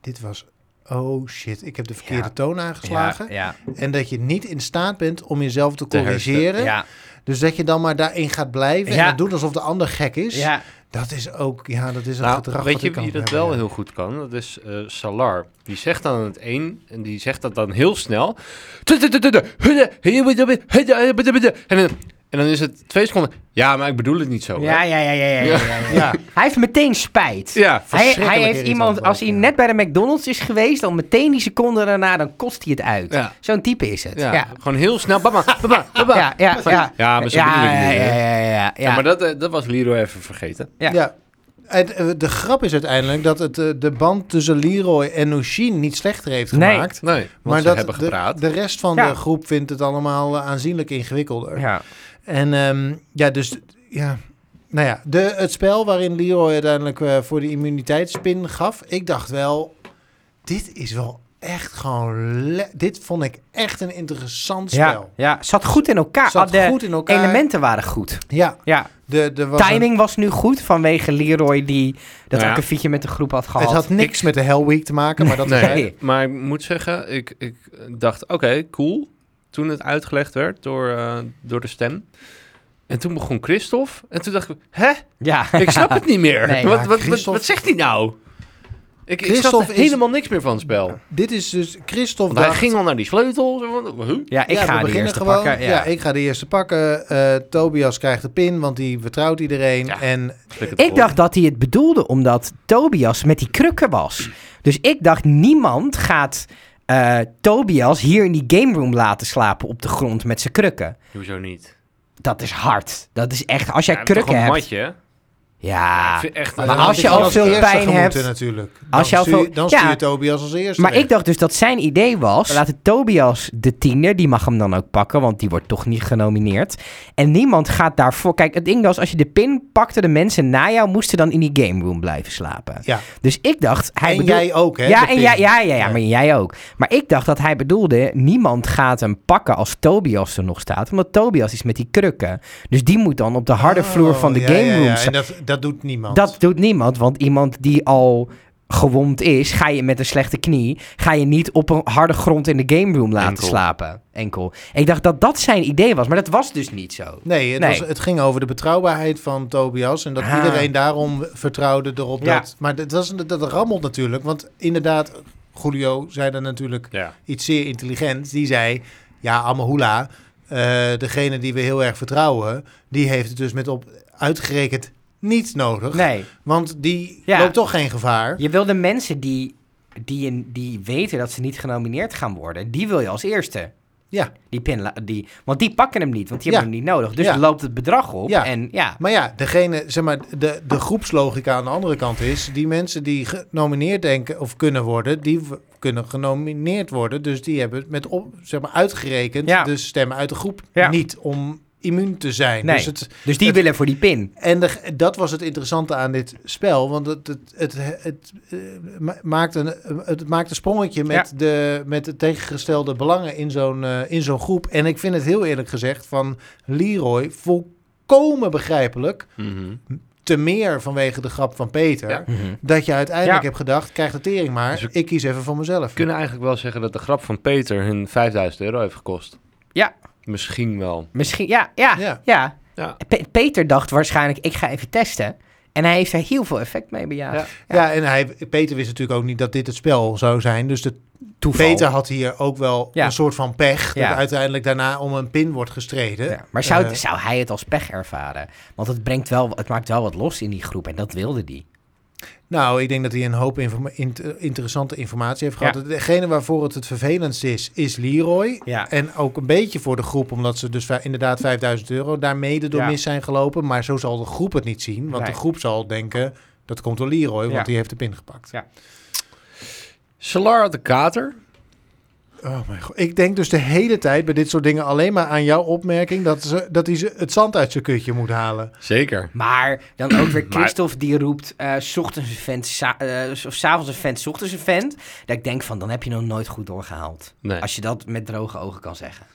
Speaker 3: dit was... Oh shit, ik heb de verkeerde
Speaker 1: Ja.
Speaker 3: toon aangeslagen.
Speaker 1: ja,
Speaker 3: En dat je niet in staat bent om jezelf te
Speaker 2: Te
Speaker 3: corrigeren.
Speaker 1: ja,
Speaker 3: Dus dat je dan maar daarin gaat blijven en
Speaker 1: Ja.
Speaker 3: dat doet alsof de ander gek is.
Speaker 1: ja.
Speaker 3: Dat is ook, ja, dat is een
Speaker 2: Nou,
Speaker 3: gedrag
Speaker 2: weet
Speaker 3: wat
Speaker 2: je
Speaker 3: ik kan
Speaker 2: wie dat
Speaker 3: hebben,
Speaker 2: wel
Speaker 3: ja.
Speaker 2: heel goed kan? Dat is eh, Salar. Die zegt dan het een en die zegt dat dan heel snel. En dan, en dan is het twee seconden. Ja, maar ik bedoel het niet zo. hè?
Speaker 1: Ja, ja, ja, ja, ja, ja, ja, ja.
Speaker 3: Ja.
Speaker 1: Hij heeft meteen spijt.
Speaker 2: Ja,
Speaker 1: Hij,
Speaker 3: verschrikkelijk
Speaker 1: hij heeft
Speaker 3: irritant
Speaker 1: iemand,
Speaker 3: ook,
Speaker 1: als hij
Speaker 3: ja.
Speaker 1: net bij de McDonald's is geweest, dan meteen die seconde daarna, dan kost hij het uit.
Speaker 2: Ja.
Speaker 1: Zo'n type is het.
Speaker 2: ja,
Speaker 1: Ja,
Speaker 2: gewoon heel snel. Baba, baba, baba.
Speaker 1: ja, ja. ja.
Speaker 2: Ja, maar zo bedoel
Speaker 1: ja,
Speaker 2: ik het
Speaker 1: ja,
Speaker 2: niet, hè?
Speaker 1: ja, ja, ja, ja.
Speaker 2: Ja, maar dat, eh, dat was Leroy even vergeten.
Speaker 1: Ja.
Speaker 3: Ja. En, eh, de grap is uiteindelijk dat het, eh, de band tussen Leroy en Nushin niet slechter heeft
Speaker 1: Nee.
Speaker 3: gemaakt.
Speaker 2: Nee, want
Speaker 3: Maar
Speaker 2: ze
Speaker 3: dat
Speaker 2: hebben
Speaker 3: de,
Speaker 2: gepraat.
Speaker 3: de rest van
Speaker 1: Ja.
Speaker 3: de groep vindt het allemaal eh, aanzienlijk ingewikkelder.
Speaker 1: ja.
Speaker 3: En ehm, ja, dus ja. Nou ja, de, het spel waarin Leroy uiteindelijk eh, voor de immuniteitspin gaf. Ik dacht wel, dit is wel echt gewoon... le- Dit vond ik echt een interessant
Speaker 1: Ja,
Speaker 3: spel.
Speaker 1: ja, zat goed in elkaar. Ah,
Speaker 3: Zat
Speaker 1: de
Speaker 3: goed in elkaar.
Speaker 1: elementen waren goed.
Speaker 3: Ja,
Speaker 1: Ja,
Speaker 3: de, de was een-
Speaker 1: timing was nu goed vanwege Leroy die dat
Speaker 2: Ja.
Speaker 1: akkefietje met de groep had gehad.
Speaker 3: het had niks met de Hell Week te maken, maar dat
Speaker 2: Nee,
Speaker 3: terzijde.
Speaker 1: Nee.
Speaker 2: maar ik moet zeggen, ik, ik dacht, oké, cool. Toen het uitgelegd werd door, eh, door de stem. En toen begon Christophe. En toen dacht ik, hè?
Speaker 1: Ja.
Speaker 2: Ik snap het niet meer.
Speaker 1: Nee,
Speaker 2: wat,
Speaker 3: maar
Speaker 2: wat, wat,
Speaker 3: Christophe-
Speaker 2: wat zegt hij nou? Ik, ik snap
Speaker 3: Christophe is-
Speaker 2: helemaal niks meer van het spel. Want
Speaker 3: Dit is dus Christophe
Speaker 2: hij
Speaker 3: dacht-
Speaker 2: ging al naar die sleutel. zo van, huh?
Speaker 1: ja, ik
Speaker 3: Ja, we
Speaker 1: ga de
Speaker 3: beginnen
Speaker 1: eerste
Speaker 3: gewoon.
Speaker 1: pakken.
Speaker 3: Ja.
Speaker 1: Ja.
Speaker 3: ik ga de eerste pakken. Eh, Tobias krijgt de pin, want die vertrouwt iedereen.
Speaker 2: Ja.
Speaker 3: En
Speaker 2: Flik het
Speaker 1: Ik
Speaker 2: op.
Speaker 1: dacht dat hij het bedoelde omdat Tobias met die krukken was. Dus ik dacht, niemand gaat eh, Tobias hier in die game room laten slapen op de grond met zijn krukken.
Speaker 2: Hoezo niet?
Speaker 1: Dat is hard. Dat is echt, als jij
Speaker 2: Ja, toch
Speaker 1: krukken
Speaker 2: een
Speaker 1: hebt.
Speaker 2: matje. hè? Ik
Speaker 1: Ja.
Speaker 2: vind echt,
Speaker 1: Maar
Speaker 2: eh,
Speaker 1: als je
Speaker 3: had ik
Speaker 1: al veel
Speaker 3: eerste
Speaker 1: pijn
Speaker 3: gemoeten
Speaker 1: hebt-
Speaker 3: natuurlijk. Dan
Speaker 1: je al
Speaker 3: stuur,
Speaker 1: veel-
Speaker 3: dan
Speaker 1: ja.
Speaker 3: stuur je Tobias als eerste.
Speaker 1: Maar
Speaker 3: weg.
Speaker 1: ik dacht dus dat zijn idee was... we laten Tobias de tiener, die mag hem dan ook pakken... want die wordt toch niet genomineerd. En niemand gaat daarvoor... Kijk, het ding was, als je de pin pakte... de mensen na jou moesten dan in die game room blijven slapen.
Speaker 3: ja.
Speaker 1: Dus ik dacht... Hij
Speaker 3: en
Speaker 1: bedoelt-
Speaker 3: jij ook, hè?
Speaker 1: ja,
Speaker 3: de
Speaker 1: en
Speaker 3: pin.
Speaker 1: jij, ja, ja, ja,
Speaker 3: Ja.
Speaker 1: maar jij ook. Maar ik dacht dat hij bedoelde... niemand gaat hem pakken als Tobias er nog staat... omdat Tobias is met die krukken. Dus die moet dan op de harde
Speaker 3: Oh,
Speaker 1: vloer van de
Speaker 3: ja,
Speaker 1: game
Speaker 3: ja,
Speaker 1: room
Speaker 3: ja.
Speaker 1: staan.
Speaker 3: En dat, dat doet niemand.
Speaker 1: Dat doet niemand, want iemand die al gewond is, ga je met een slechte knie, ga je niet op een harde grond in de game room laten
Speaker 2: Enkel.
Speaker 1: slapen. Enkel. Ik dacht dat dat zijn idee was, maar dat was dus niet zo.
Speaker 3: Nee, het,
Speaker 1: Nee.
Speaker 3: Was, het ging over de betrouwbaarheid van Tobias. En dat
Speaker 1: Ah.
Speaker 3: iedereen daarom vertrouwde erop
Speaker 1: Ja.
Speaker 3: dat... Maar dat, was, dat, dat rammelt natuurlijk. Want inderdaad, Julio zei daar natuurlijk
Speaker 2: eh, Ja.
Speaker 3: iets zeer intelligents. Die zei, ja, Amahula, eh degene die we heel erg vertrouwen... die heeft het dus met op uitgerekend niet nodig.
Speaker 1: Nee,
Speaker 3: Want die
Speaker 1: Ja.
Speaker 3: loopt toch geen gevaar.
Speaker 1: je wilde mensen die, die, in- die weten dat ze niet genomineerd gaan worden, die wil je als eerste.
Speaker 3: Ja.
Speaker 1: Die pin, la- die, want die pakken hem niet, want die
Speaker 3: Ja.
Speaker 1: hebben hem niet nodig. Dus
Speaker 3: Ja.
Speaker 1: loopt het bedrag op
Speaker 3: Ja.
Speaker 1: en ja.
Speaker 3: Maar ja, degene, zeg maar, de, de groepslogica aan de andere kant is... die mensen die genomineerd denken of kunnen worden... die w- kunnen genomineerd worden. Dus die hebben het met op, zeg maar, uitgerekend...
Speaker 1: Ja.
Speaker 3: de stemmen uit de groep
Speaker 1: Ja.
Speaker 3: niet om immuun te zijn.
Speaker 1: Nee.
Speaker 3: Dus het,
Speaker 1: Dus die
Speaker 3: Het-
Speaker 1: willen voor die pin.
Speaker 3: en de- dat was het interessante aan dit spel. Want het, het, het, het, eh, ma- maakt, een, het maakt een sprongetje met, de, met de tegengestelde belangen in zo'n, eh, in zo'n groep. En ik vind het heel eerlijk gezegd van Leroy volkomen begrijpelijk
Speaker 2: Mhm.
Speaker 3: te meer vanwege de grap van Peter.
Speaker 2: Ja.
Speaker 1: Mhm.
Speaker 3: Dat je uiteindelijk
Speaker 2: Ja.
Speaker 3: hebt gedacht, krijg de tering maar.
Speaker 2: Dus we-
Speaker 3: ik kies even voor mezelf.
Speaker 2: We kunnen eigenlijk wel zeggen dat de grap van Peter hun 5000 euro heeft gekost.
Speaker 1: Ja.
Speaker 2: Misschien wel.
Speaker 1: Misschien, ja, ja, ja.
Speaker 3: Ja.
Speaker 2: Ja.
Speaker 1: Pe- Peter dacht waarschijnlijk, ik ga even testen. En hij heeft er heel veel effect mee bejaagd.
Speaker 2: Ja.
Speaker 3: ja. en hij, Peter wist natuurlijk ook niet dat dit het spel zou zijn. Dus de,
Speaker 1: Toeval.
Speaker 3: Peter had hier ook wel
Speaker 1: Ja.
Speaker 3: een soort van pech.
Speaker 1: Ja.
Speaker 3: Dat uiteindelijk daarna om een pin wordt gestreden.
Speaker 1: Ja, maar zou,
Speaker 3: Eh,
Speaker 1: zou hij het als pech ervaren? Want het, brengt wel, het maakt wel wat los in die groep en dat wilde die.
Speaker 3: Nou, ik denk dat hij een hoop informa- int- interessante informatie heeft gehad. Degene waarvoor het het vervelendst is, is Leroy.
Speaker 1: Ja.
Speaker 3: En ook een beetje voor de groep, omdat ze dus va- inderdaad 5000 euro daar mede door
Speaker 1: Ja.
Speaker 3: mis zijn gelopen. Maar zo zal de groep het niet zien, want
Speaker 1: Nee.
Speaker 3: de groep zal denken, dat komt door Leroy, want
Speaker 1: Ja.
Speaker 3: die heeft de pin gepakt.
Speaker 1: Ja.
Speaker 2: Salar had de kater.
Speaker 3: Oh mijn god. Ik denk dus de hele tijd bij dit soort dingen alleen maar aan jouw opmerking dat, ze, dat hij ze, het zand uit zijn kutje moet halen.
Speaker 2: Zeker.
Speaker 1: Maar dan ook weer
Speaker 2: Maar-
Speaker 1: Christophe die roept... eh, 's ochtends een vent, sa- eh, of 's avonds een vent, 's ochtends een vent. Dat ik denk van, dan heb je nog nooit goed doorgehaald.
Speaker 2: Nee.
Speaker 1: Als je dat met droge ogen kan zeggen.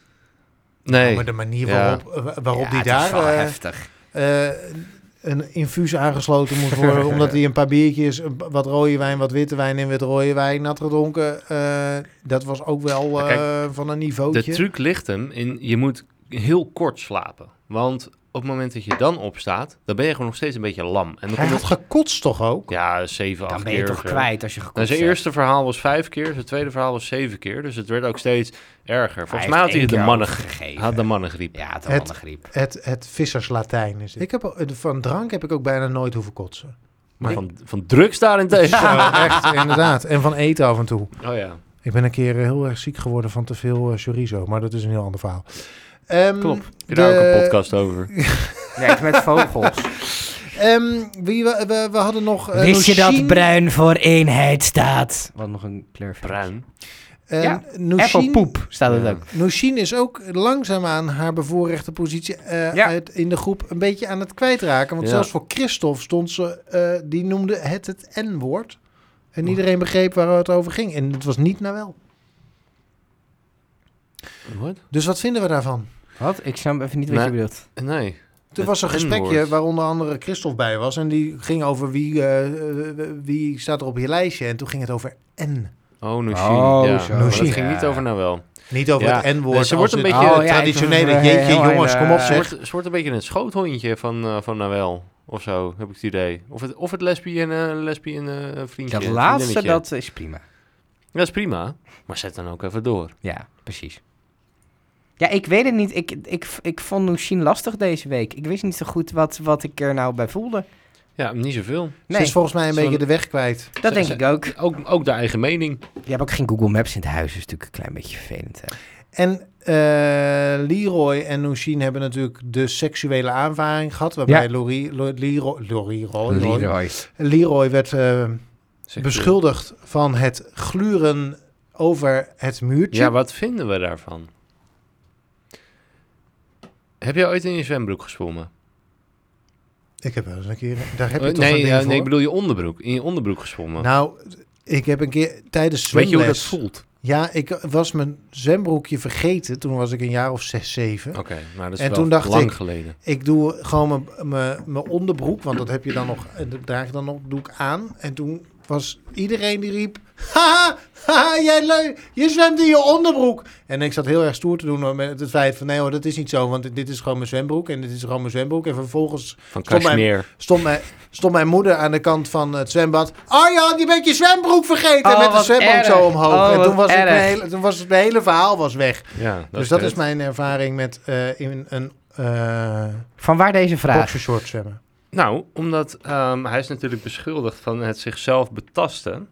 Speaker 2: nee.
Speaker 3: Maar de manier
Speaker 2: Ja.
Speaker 3: waarop, eh, waarop
Speaker 1: Ja,
Speaker 3: die
Speaker 1: het is
Speaker 3: daar...
Speaker 1: wel
Speaker 3: eh,
Speaker 1: heftig.
Speaker 3: eh, een infuus aangesloten moet worden. omdat hij een paar biertjes, een- wat rode wijn, wat witte wijn en wit rode wijn had gedronken. Eh, dat was ook wel
Speaker 2: Maar kijk,
Speaker 3: eh, van een
Speaker 2: De
Speaker 3: niveautje.
Speaker 2: truc ligt hem in, je moet heel kort slapen. Want op het moment dat je dan opstaat, dan ben je gewoon nog steeds een beetje lam. En dan
Speaker 3: Hij
Speaker 2: komt
Speaker 3: had
Speaker 2: het,
Speaker 3: gekotst toch ook?
Speaker 2: ja, zeven,
Speaker 1: Dan
Speaker 2: acht
Speaker 1: ben je
Speaker 2: keer
Speaker 1: toch
Speaker 2: of zo.
Speaker 1: kwijt als je
Speaker 2: Nou,
Speaker 1: gekocht
Speaker 2: zijn eerste verhaal was vijf keer, zijn tweede verhaal was zeven keer. Dus het werd ook steeds erger. Volgens mij had hij de mannen,
Speaker 1: gegeven.
Speaker 2: had de mannengriep.
Speaker 1: Ja, het
Speaker 3: Het-
Speaker 1: had mannengriep.
Speaker 3: Het, het visserslatijn is het. Ik heb, al- van drank heb ik ook bijna nooit hoeven kotsen.
Speaker 2: Maar van, van drugs daarentegen.
Speaker 3: Zo, echt, inderdaad. En van eten af en toe.
Speaker 2: Oh ja,
Speaker 3: Ik ben een keer eh, heel erg ziek geworden van te veel eh, chorizo. Maar dat is een heel ander verhaal. Ehm,
Speaker 2: klopt. Heb je
Speaker 3: de-
Speaker 2: daar ook een podcast over?
Speaker 1: Nee, het met vogels.
Speaker 3: ehm, wie, we, we, we hadden nog... eh,
Speaker 1: Wist je dat
Speaker 3: Nooshin.
Speaker 1: bruin voor eenheid staat? Wat nog een kleur
Speaker 2: Bruin.
Speaker 3: Eh,
Speaker 1: Ja.
Speaker 3: Nooshin-
Speaker 1: Appelpoep staat het
Speaker 2: Ja.
Speaker 1: ook.
Speaker 3: Nooshin is ook langzaamaan haar bevoorrechte positie eh,
Speaker 1: Ja.
Speaker 3: uit, in de groep een beetje aan het kwijtraken. Want
Speaker 2: Ja.
Speaker 3: zelfs voor Christophe stond ze, eh, die noemde het het N-woord. En iedereen begreep waar het over ging. En het was niet naar wel.
Speaker 2: Wat?
Speaker 3: Dus wat vinden we daarvan?
Speaker 1: Wat? Ik snap even niet
Speaker 2: wat
Speaker 1: wat
Speaker 2: Nee. je
Speaker 1: je bedoelt.
Speaker 2: Nee.
Speaker 3: Toen was een
Speaker 2: Het
Speaker 3: gesprekje
Speaker 2: N-woord.
Speaker 3: waar onder andere Christophe bij was. En die ging over wie, eh, eh, wie staat er op je lijstje. En toen ging het over N.
Speaker 2: Oh, Nushin.
Speaker 1: Oh,
Speaker 2: ja.
Speaker 1: zo.
Speaker 2: Maar dat
Speaker 3: Nushin.
Speaker 2: ging niet
Speaker 1: Ja.
Speaker 2: over nou wel.
Speaker 3: Niet over
Speaker 2: Ja,
Speaker 3: het N-woord.
Speaker 2: ze wordt
Speaker 3: als
Speaker 2: een
Speaker 3: het
Speaker 2: beetje-
Speaker 3: oh,
Speaker 2: Oh,
Speaker 1: ja,
Speaker 3: traditionele.
Speaker 1: ik-
Speaker 3: Jeetje,
Speaker 1: heel
Speaker 3: jongens,
Speaker 1: erg,
Speaker 3: kom op
Speaker 1: eh,
Speaker 2: Ze
Speaker 3: zeg.
Speaker 2: wordt, ze wordt een beetje het schoothondje van, eh van Nawel of zo, heb ik het idee. Of het, of het lesbien, eh lesbien eh, vriendje.
Speaker 1: Dat laatste,
Speaker 2: vriendinnetje.
Speaker 1: dat is prima.
Speaker 2: Ja, is prima, maar zet dan ook even door.
Speaker 1: Ja, precies. Ja, ik weet het niet. Ik, ik, ik vond Nushin lastig deze week. Ik wist niet zo goed wat, wat ik er nou bij voelde.
Speaker 2: Ja, niet zoveel.
Speaker 3: Ze
Speaker 1: Nee,
Speaker 3: is volgens mij een
Speaker 2: Zo'n-
Speaker 3: beetje de weg kwijt.
Speaker 1: dat denk
Speaker 2: ze-
Speaker 1: ik ook.
Speaker 2: Ook, ook de eigen mening.
Speaker 1: Je hebt ook geen Google Maps in het huis. Dat is natuurlijk een klein beetje vervelend. Hè?
Speaker 3: En eh, Leroy en Nushin hebben natuurlijk de seksuele aanvaring gehad. Waarbij
Speaker 1: Ja.
Speaker 3: Lori- Lo- Leroy, Lori- Roy- Roy- Leroy,
Speaker 1: Leroy.
Speaker 3: werd eh,
Speaker 2: Zegt
Speaker 3: beschuldigd van het gluren over het
Speaker 2: u.
Speaker 3: muurtje.
Speaker 2: Ja, wat vinden we daarvan? Heb jij ooit in je zwembroek gesprongen?
Speaker 3: Ik heb wel eens een keer... Daar heb je
Speaker 2: Eh,
Speaker 3: toch een
Speaker 2: nee,
Speaker 3: ding
Speaker 2: ja,
Speaker 3: voor?
Speaker 2: nee, ik bedoel je onderbroek. In je onderbroek gesprongen.
Speaker 3: Nou, ik heb een keer tijdens
Speaker 2: Oh. Weet je hoe dat
Speaker 3: zwemles-
Speaker 2: voelt?
Speaker 3: Ja, ik was mijn zwembroekje vergeten. Toen was ik een jaar of zes, zeven.
Speaker 2: Oké, maar dat is
Speaker 3: En
Speaker 2: wel
Speaker 3: toen dacht
Speaker 2: lang
Speaker 3: ik-
Speaker 2: geleden.
Speaker 3: Ik doe gewoon mijn- mijn- mijn onderbroek, want dat heb je dan nog, eh, dat draag je dan nog, doe ik aan. En toen was iedereen die riep, haha, haha, jij leuk, je zwemt in je onderbroek. En ik zat heel erg stoer te doen hoor, met het feit van, nee hoor, dat is niet zo, want dit- dit is gewoon mijn zwembroek en dit is gewoon mijn zwembroek. En vervolgens
Speaker 2: Van
Speaker 3: Stop maar.
Speaker 2: Kashmir.
Speaker 3: stond mijn, stond mijn moeder aan de kant van het zwembad, Arjan, je bent je zwembroek vergeten,
Speaker 1: Oh,
Speaker 3: met de
Speaker 1: wat
Speaker 3: zwembroek
Speaker 1: erg.
Speaker 3: zo omhoog.
Speaker 1: Oh,
Speaker 3: en
Speaker 1: wat
Speaker 3: toen was, het
Speaker 1: erg.
Speaker 3: mijn hele, toen was het mijn hele verhaal was weg.
Speaker 2: Ja, dat
Speaker 3: dus dat
Speaker 2: kut.
Speaker 3: is mijn ervaring met eh, in een eh
Speaker 1: Van waar deze vraag?
Speaker 3: boxershort zwemmen.
Speaker 2: Nou, omdat ehm, hij is natuurlijk beschuldigd van het zichzelf betasten.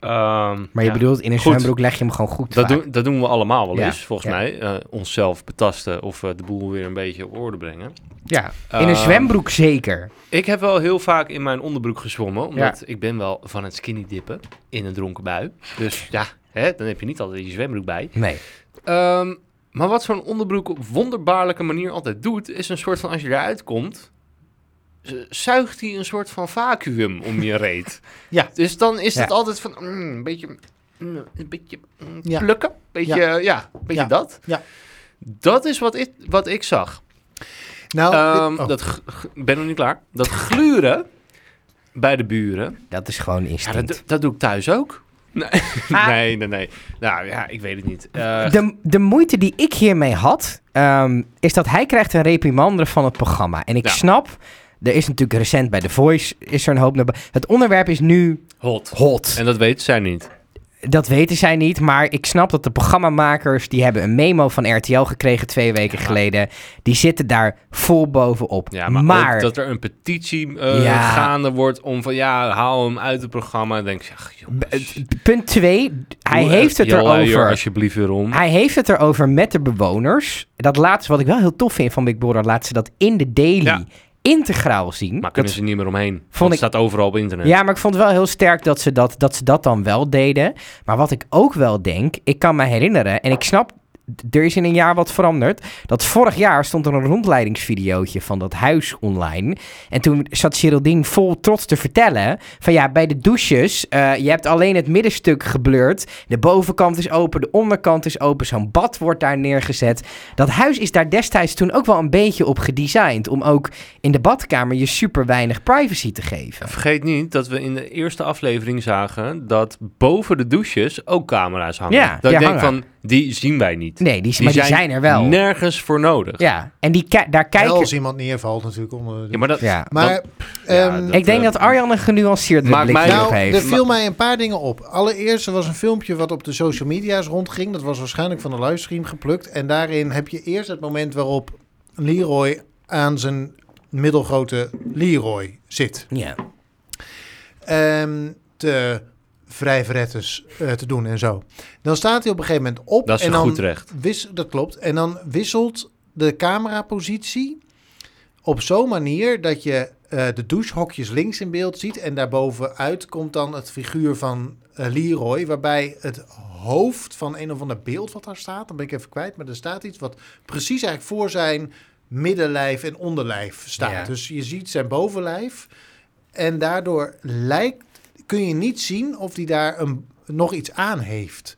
Speaker 2: Ehm,
Speaker 1: Maar je
Speaker 2: ja,
Speaker 1: bedoelt, in een
Speaker 2: Goed.
Speaker 1: zwembroek leg je hem gewoon goed
Speaker 2: dat,
Speaker 1: vaak.
Speaker 2: doen, dat doen we allemaal wel
Speaker 1: Ja,
Speaker 2: eens, volgens
Speaker 1: ja.
Speaker 2: mij. eh, onszelf betasten of eh, de boel weer een beetje op orde brengen.
Speaker 1: Ja, Eh, in een
Speaker 2: Ehm,
Speaker 1: zwembroek zeker.
Speaker 2: Ik heb wel heel vaak in mijn onderbroek gezwommen, omdat ik ben wel van het skinny dippen in een dronken bui. Dus ja, hè, dan heb je niet altijd je zwembroek bij.
Speaker 1: Nee.
Speaker 2: Ehm, maar wat zo'n onderbroek op wonderbaarlijke manier altijd doet, is een soort van als je eruit komt, z- zuigt hij een soort van vacuüm om je reet.
Speaker 3: Ja.
Speaker 2: Dus dan is het
Speaker 1: Ja.
Speaker 2: altijd van mm, een beetje, mm, een beetje mm,
Speaker 3: Ja.
Speaker 2: plukken, een beetje, ja, een beetje
Speaker 3: Ja.
Speaker 2: dat.
Speaker 3: Ja.
Speaker 2: Dat is wat ik, wat ik zag.
Speaker 3: Nou, dit-
Speaker 2: Ehm,
Speaker 3: oh.
Speaker 2: dat g- g- ben nog niet klaar. Dat gluren bij de buren.
Speaker 1: Dat is gewoon
Speaker 2: Ja,
Speaker 1: instinct.
Speaker 2: dat, dat doe ik thuis ook. Nee, nee, nee, nee. Nou ja, ik weet het niet. Eh,
Speaker 1: de, de moeite die ik hiermee had, ehm, is dat hij krijgt een reprimande van het programma. En ik
Speaker 2: Ja.
Speaker 1: snap, er is natuurlijk recent bij The Voice, is er een hoop naar... bo- Het onderwerp is nu
Speaker 2: hot.
Speaker 1: hot.
Speaker 2: En dat weten zij niet.
Speaker 1: Dat weten zij niet, maar ik snap dat de programmamakers... die hebben een memo van RTL gekregen twee weken geleden. Die zitten daar vol bovenop.
Speaker 2: Ja, maar, ook dat er een petitie eh,
Speaker 1: Ja.
Speaker 2: gaande wordt om van ja, haal hem uit het programma. Dan denk ik, ach jongens.
Speaker 1: punt twee, hij
Speaker 2: Doe,
Speaker 1: heeft
Speaker 2: eh,
Speaker 1: het
Speaker 2: Jalla, joh,
Speaker 1: erover...
Speaker 2: alsjeblieft weer om.
Speaker 1: Hij heeft het erover met de bewoners. Dat laatste, wat ik wel heel tof vind van Big Brother, laat ze dat in de daily
Speaker 2: Ja.
Speaker 1: integraal zien.
Speaker 2: Maar kunnen
Speaker 1: dat,
Speaker 2: ze niet meer omheen. Vond
Speaker 1: ik-
Speaker 2: Het staat overal op internet.
Speaker 1: ja, maar ik vond het wel heel sterk dat ze dat, dat ze dat dan wel deden. Maar wat ik ook wel denk, ik kan me herinneren, en ik snap, d- er is in een jaar wat veranderd. Dat vorig jaar stond er een rondleidingsvideootje van dat huis online. En toen zat Geraldine vol trots te vertellen: van ja, bij de douches, eh, je hebt alleen het middenstuk geblurred. De bovenkant is open, de onderkant is open. Zo'n bad wordt daar neergezet. Dat huis is daar destijds toen ook wel een beetje op gedesigned. Om ook in de badkamer je super weinig privacy te geven.
Speaker 2: Vergeet niet dat we in de eerste aflevering zagen dat boven de douches ook camera's hangen.
Speaker 1: Ja,
Speaker 2: dat
Speaker 1: ja,
Speaker 2: ik denk
Speaker 1: hangen.
Speaker 2: van, die zien wij niet.
Speaker 1: Nee, die,
Speaker 2: Die
Speaker 1: maar die
Speaker 2: zijn
Speaker 1: zijn er wel.
Speaker 2: Nergens voor nodig.
Speaker 1: Ja, en die ki- daar
Speaker 3: Wel
Speaker 1: kijken.
Speaker 3: als iemand neervalt natuurlijk onder... de-
Speaker 2: Ja, maar dat,
Speaker 1: Ja.
Speaker 3: maar
Speaker 2: dat-
Speaker 3: ehm,
Speaker 2: ja, dat-
Speaker 1: Ik denk dat Arjan een genuanceerd
Speaker 2: Maakt
Speaker 1: blik
Speaker 2: mij-
Speaker 1: hierop
Speaker 3: Nou, er
Speaker 1: heeft.
Speaker 3: viel mij een paar dingen op. Allereerst, er was een filmpje wat op de social media's rondging. Dat was waarschijnlijk van de livestream geplukt. En daarin heb je eerst het moment waarop Leroy aan zijn middelgrote Leroy zit.
Speaker 1: Ja.
Speaker 3: Ehm, te vrijverretters eh, te doen en zo. Dan staat hij op een gegeven moment op.
Speaker 2: dat is
Speaker 3: en
Speaker 2: een
Speaker 3: dan
Speaker 2: goed recht.
Speaker 3: Wis, dat klopt. En dan wisselt de camerapositie op zo'n manier dat je eh, de douchehokjes links in beeld ziet. En daarbovenuit komt dan het figuur van eh, Leroy, waarbij het hoofd van een of ander beeld wat daar staat, dan ben ik even kwijt, maar er staat iets wat precies eigenlijk voor zijn middenlijf en onderlijf staat.
Speaker 1: Ja.
Speaker 3: Dus je ziet zijn bovenlijf en daardoor lijkt, kun je niet zien of die daar een, nog iets aan heeft.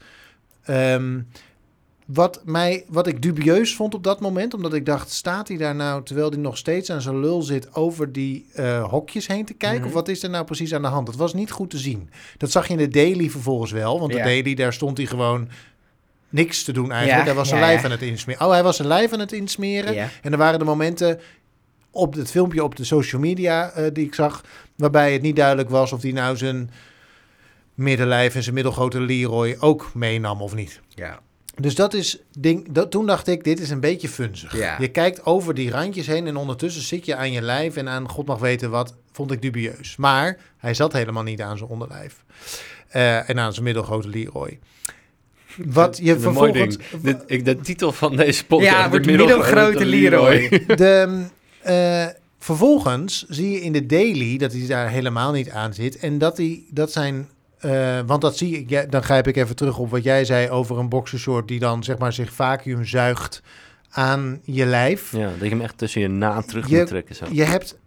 Speaker 3: Ehm, wat, mij, wat ik dubieus vond op dat moment, omdat ik dacht: staat hij daar nou terwijl hij nog steeds aan zijn lul zit over die eh, hokjes heen te kijken?
Speaker 1: Mhm.
Speaker 3: Of wat is er nou precies aan de hand? Dat was niet goed te zien. Dat zag je in de Daily vervolgens wel, want
Speaker 1: Ja.
Speaker 3: de Daily, daar stond hij gewoon niks te doen eigenlijk.
Speaker 1: Ja,
Speaker 3: hij was zijn
Speaker 1: ja,
Speaker 3: lijf
Speaker 1: ja.
Speaker 3: aan het insmeren. Oh, hij was zijn lijf aan het insmeren.
Speaker 1: Ja.
Speaker 3: En er waren de momenten op het filmpje op de social media eh, die ik zag, waarbij het niet duidelijk was of hij nou zijn middenlijf en zijn middelgrote Leroy ook meenam of niet.
Speaker 1: Ja.
Speaker 3: Dus dat is ding. Dat, toen dacht ik, dit is een beetje funzig.
Speaker 1: Ja.
Speaker 3: Je kijkt over die randjes heen en ondertussen zit je aan je lijf en aan God mag weten wat. Vond ik dubieus. Maar hij zat helemaal niet aan zijn onderlijf Eh, en aan zijn middelgrote Leroy. Wat je
Speaker 2: Een mooi
Speaker 3: vervolgens
Speaker 2: ding. Dit- ik, de titel van deze podcast.
Speaker 1: Ja,
Speaker 2: de
Speaker 1: wordt middelgrote Leroy.
Speaker 3: De, eh, vervolgens zie je in de daily dat hij daar helemaal niet aan zit. En dat, hij, dat zijn... eh, want dat zie ik, ja, dan grijp ik even terug op wat jij zei over een boxershort die dan zeg maar zich vacuüm zuigt aan je lijf.
Speaker 2: Ja, dat je hem echt tussen je na terug
Speaker 3: Je-
Speaker 2: moet trekken. Zo.
Speaker 3: Je hebt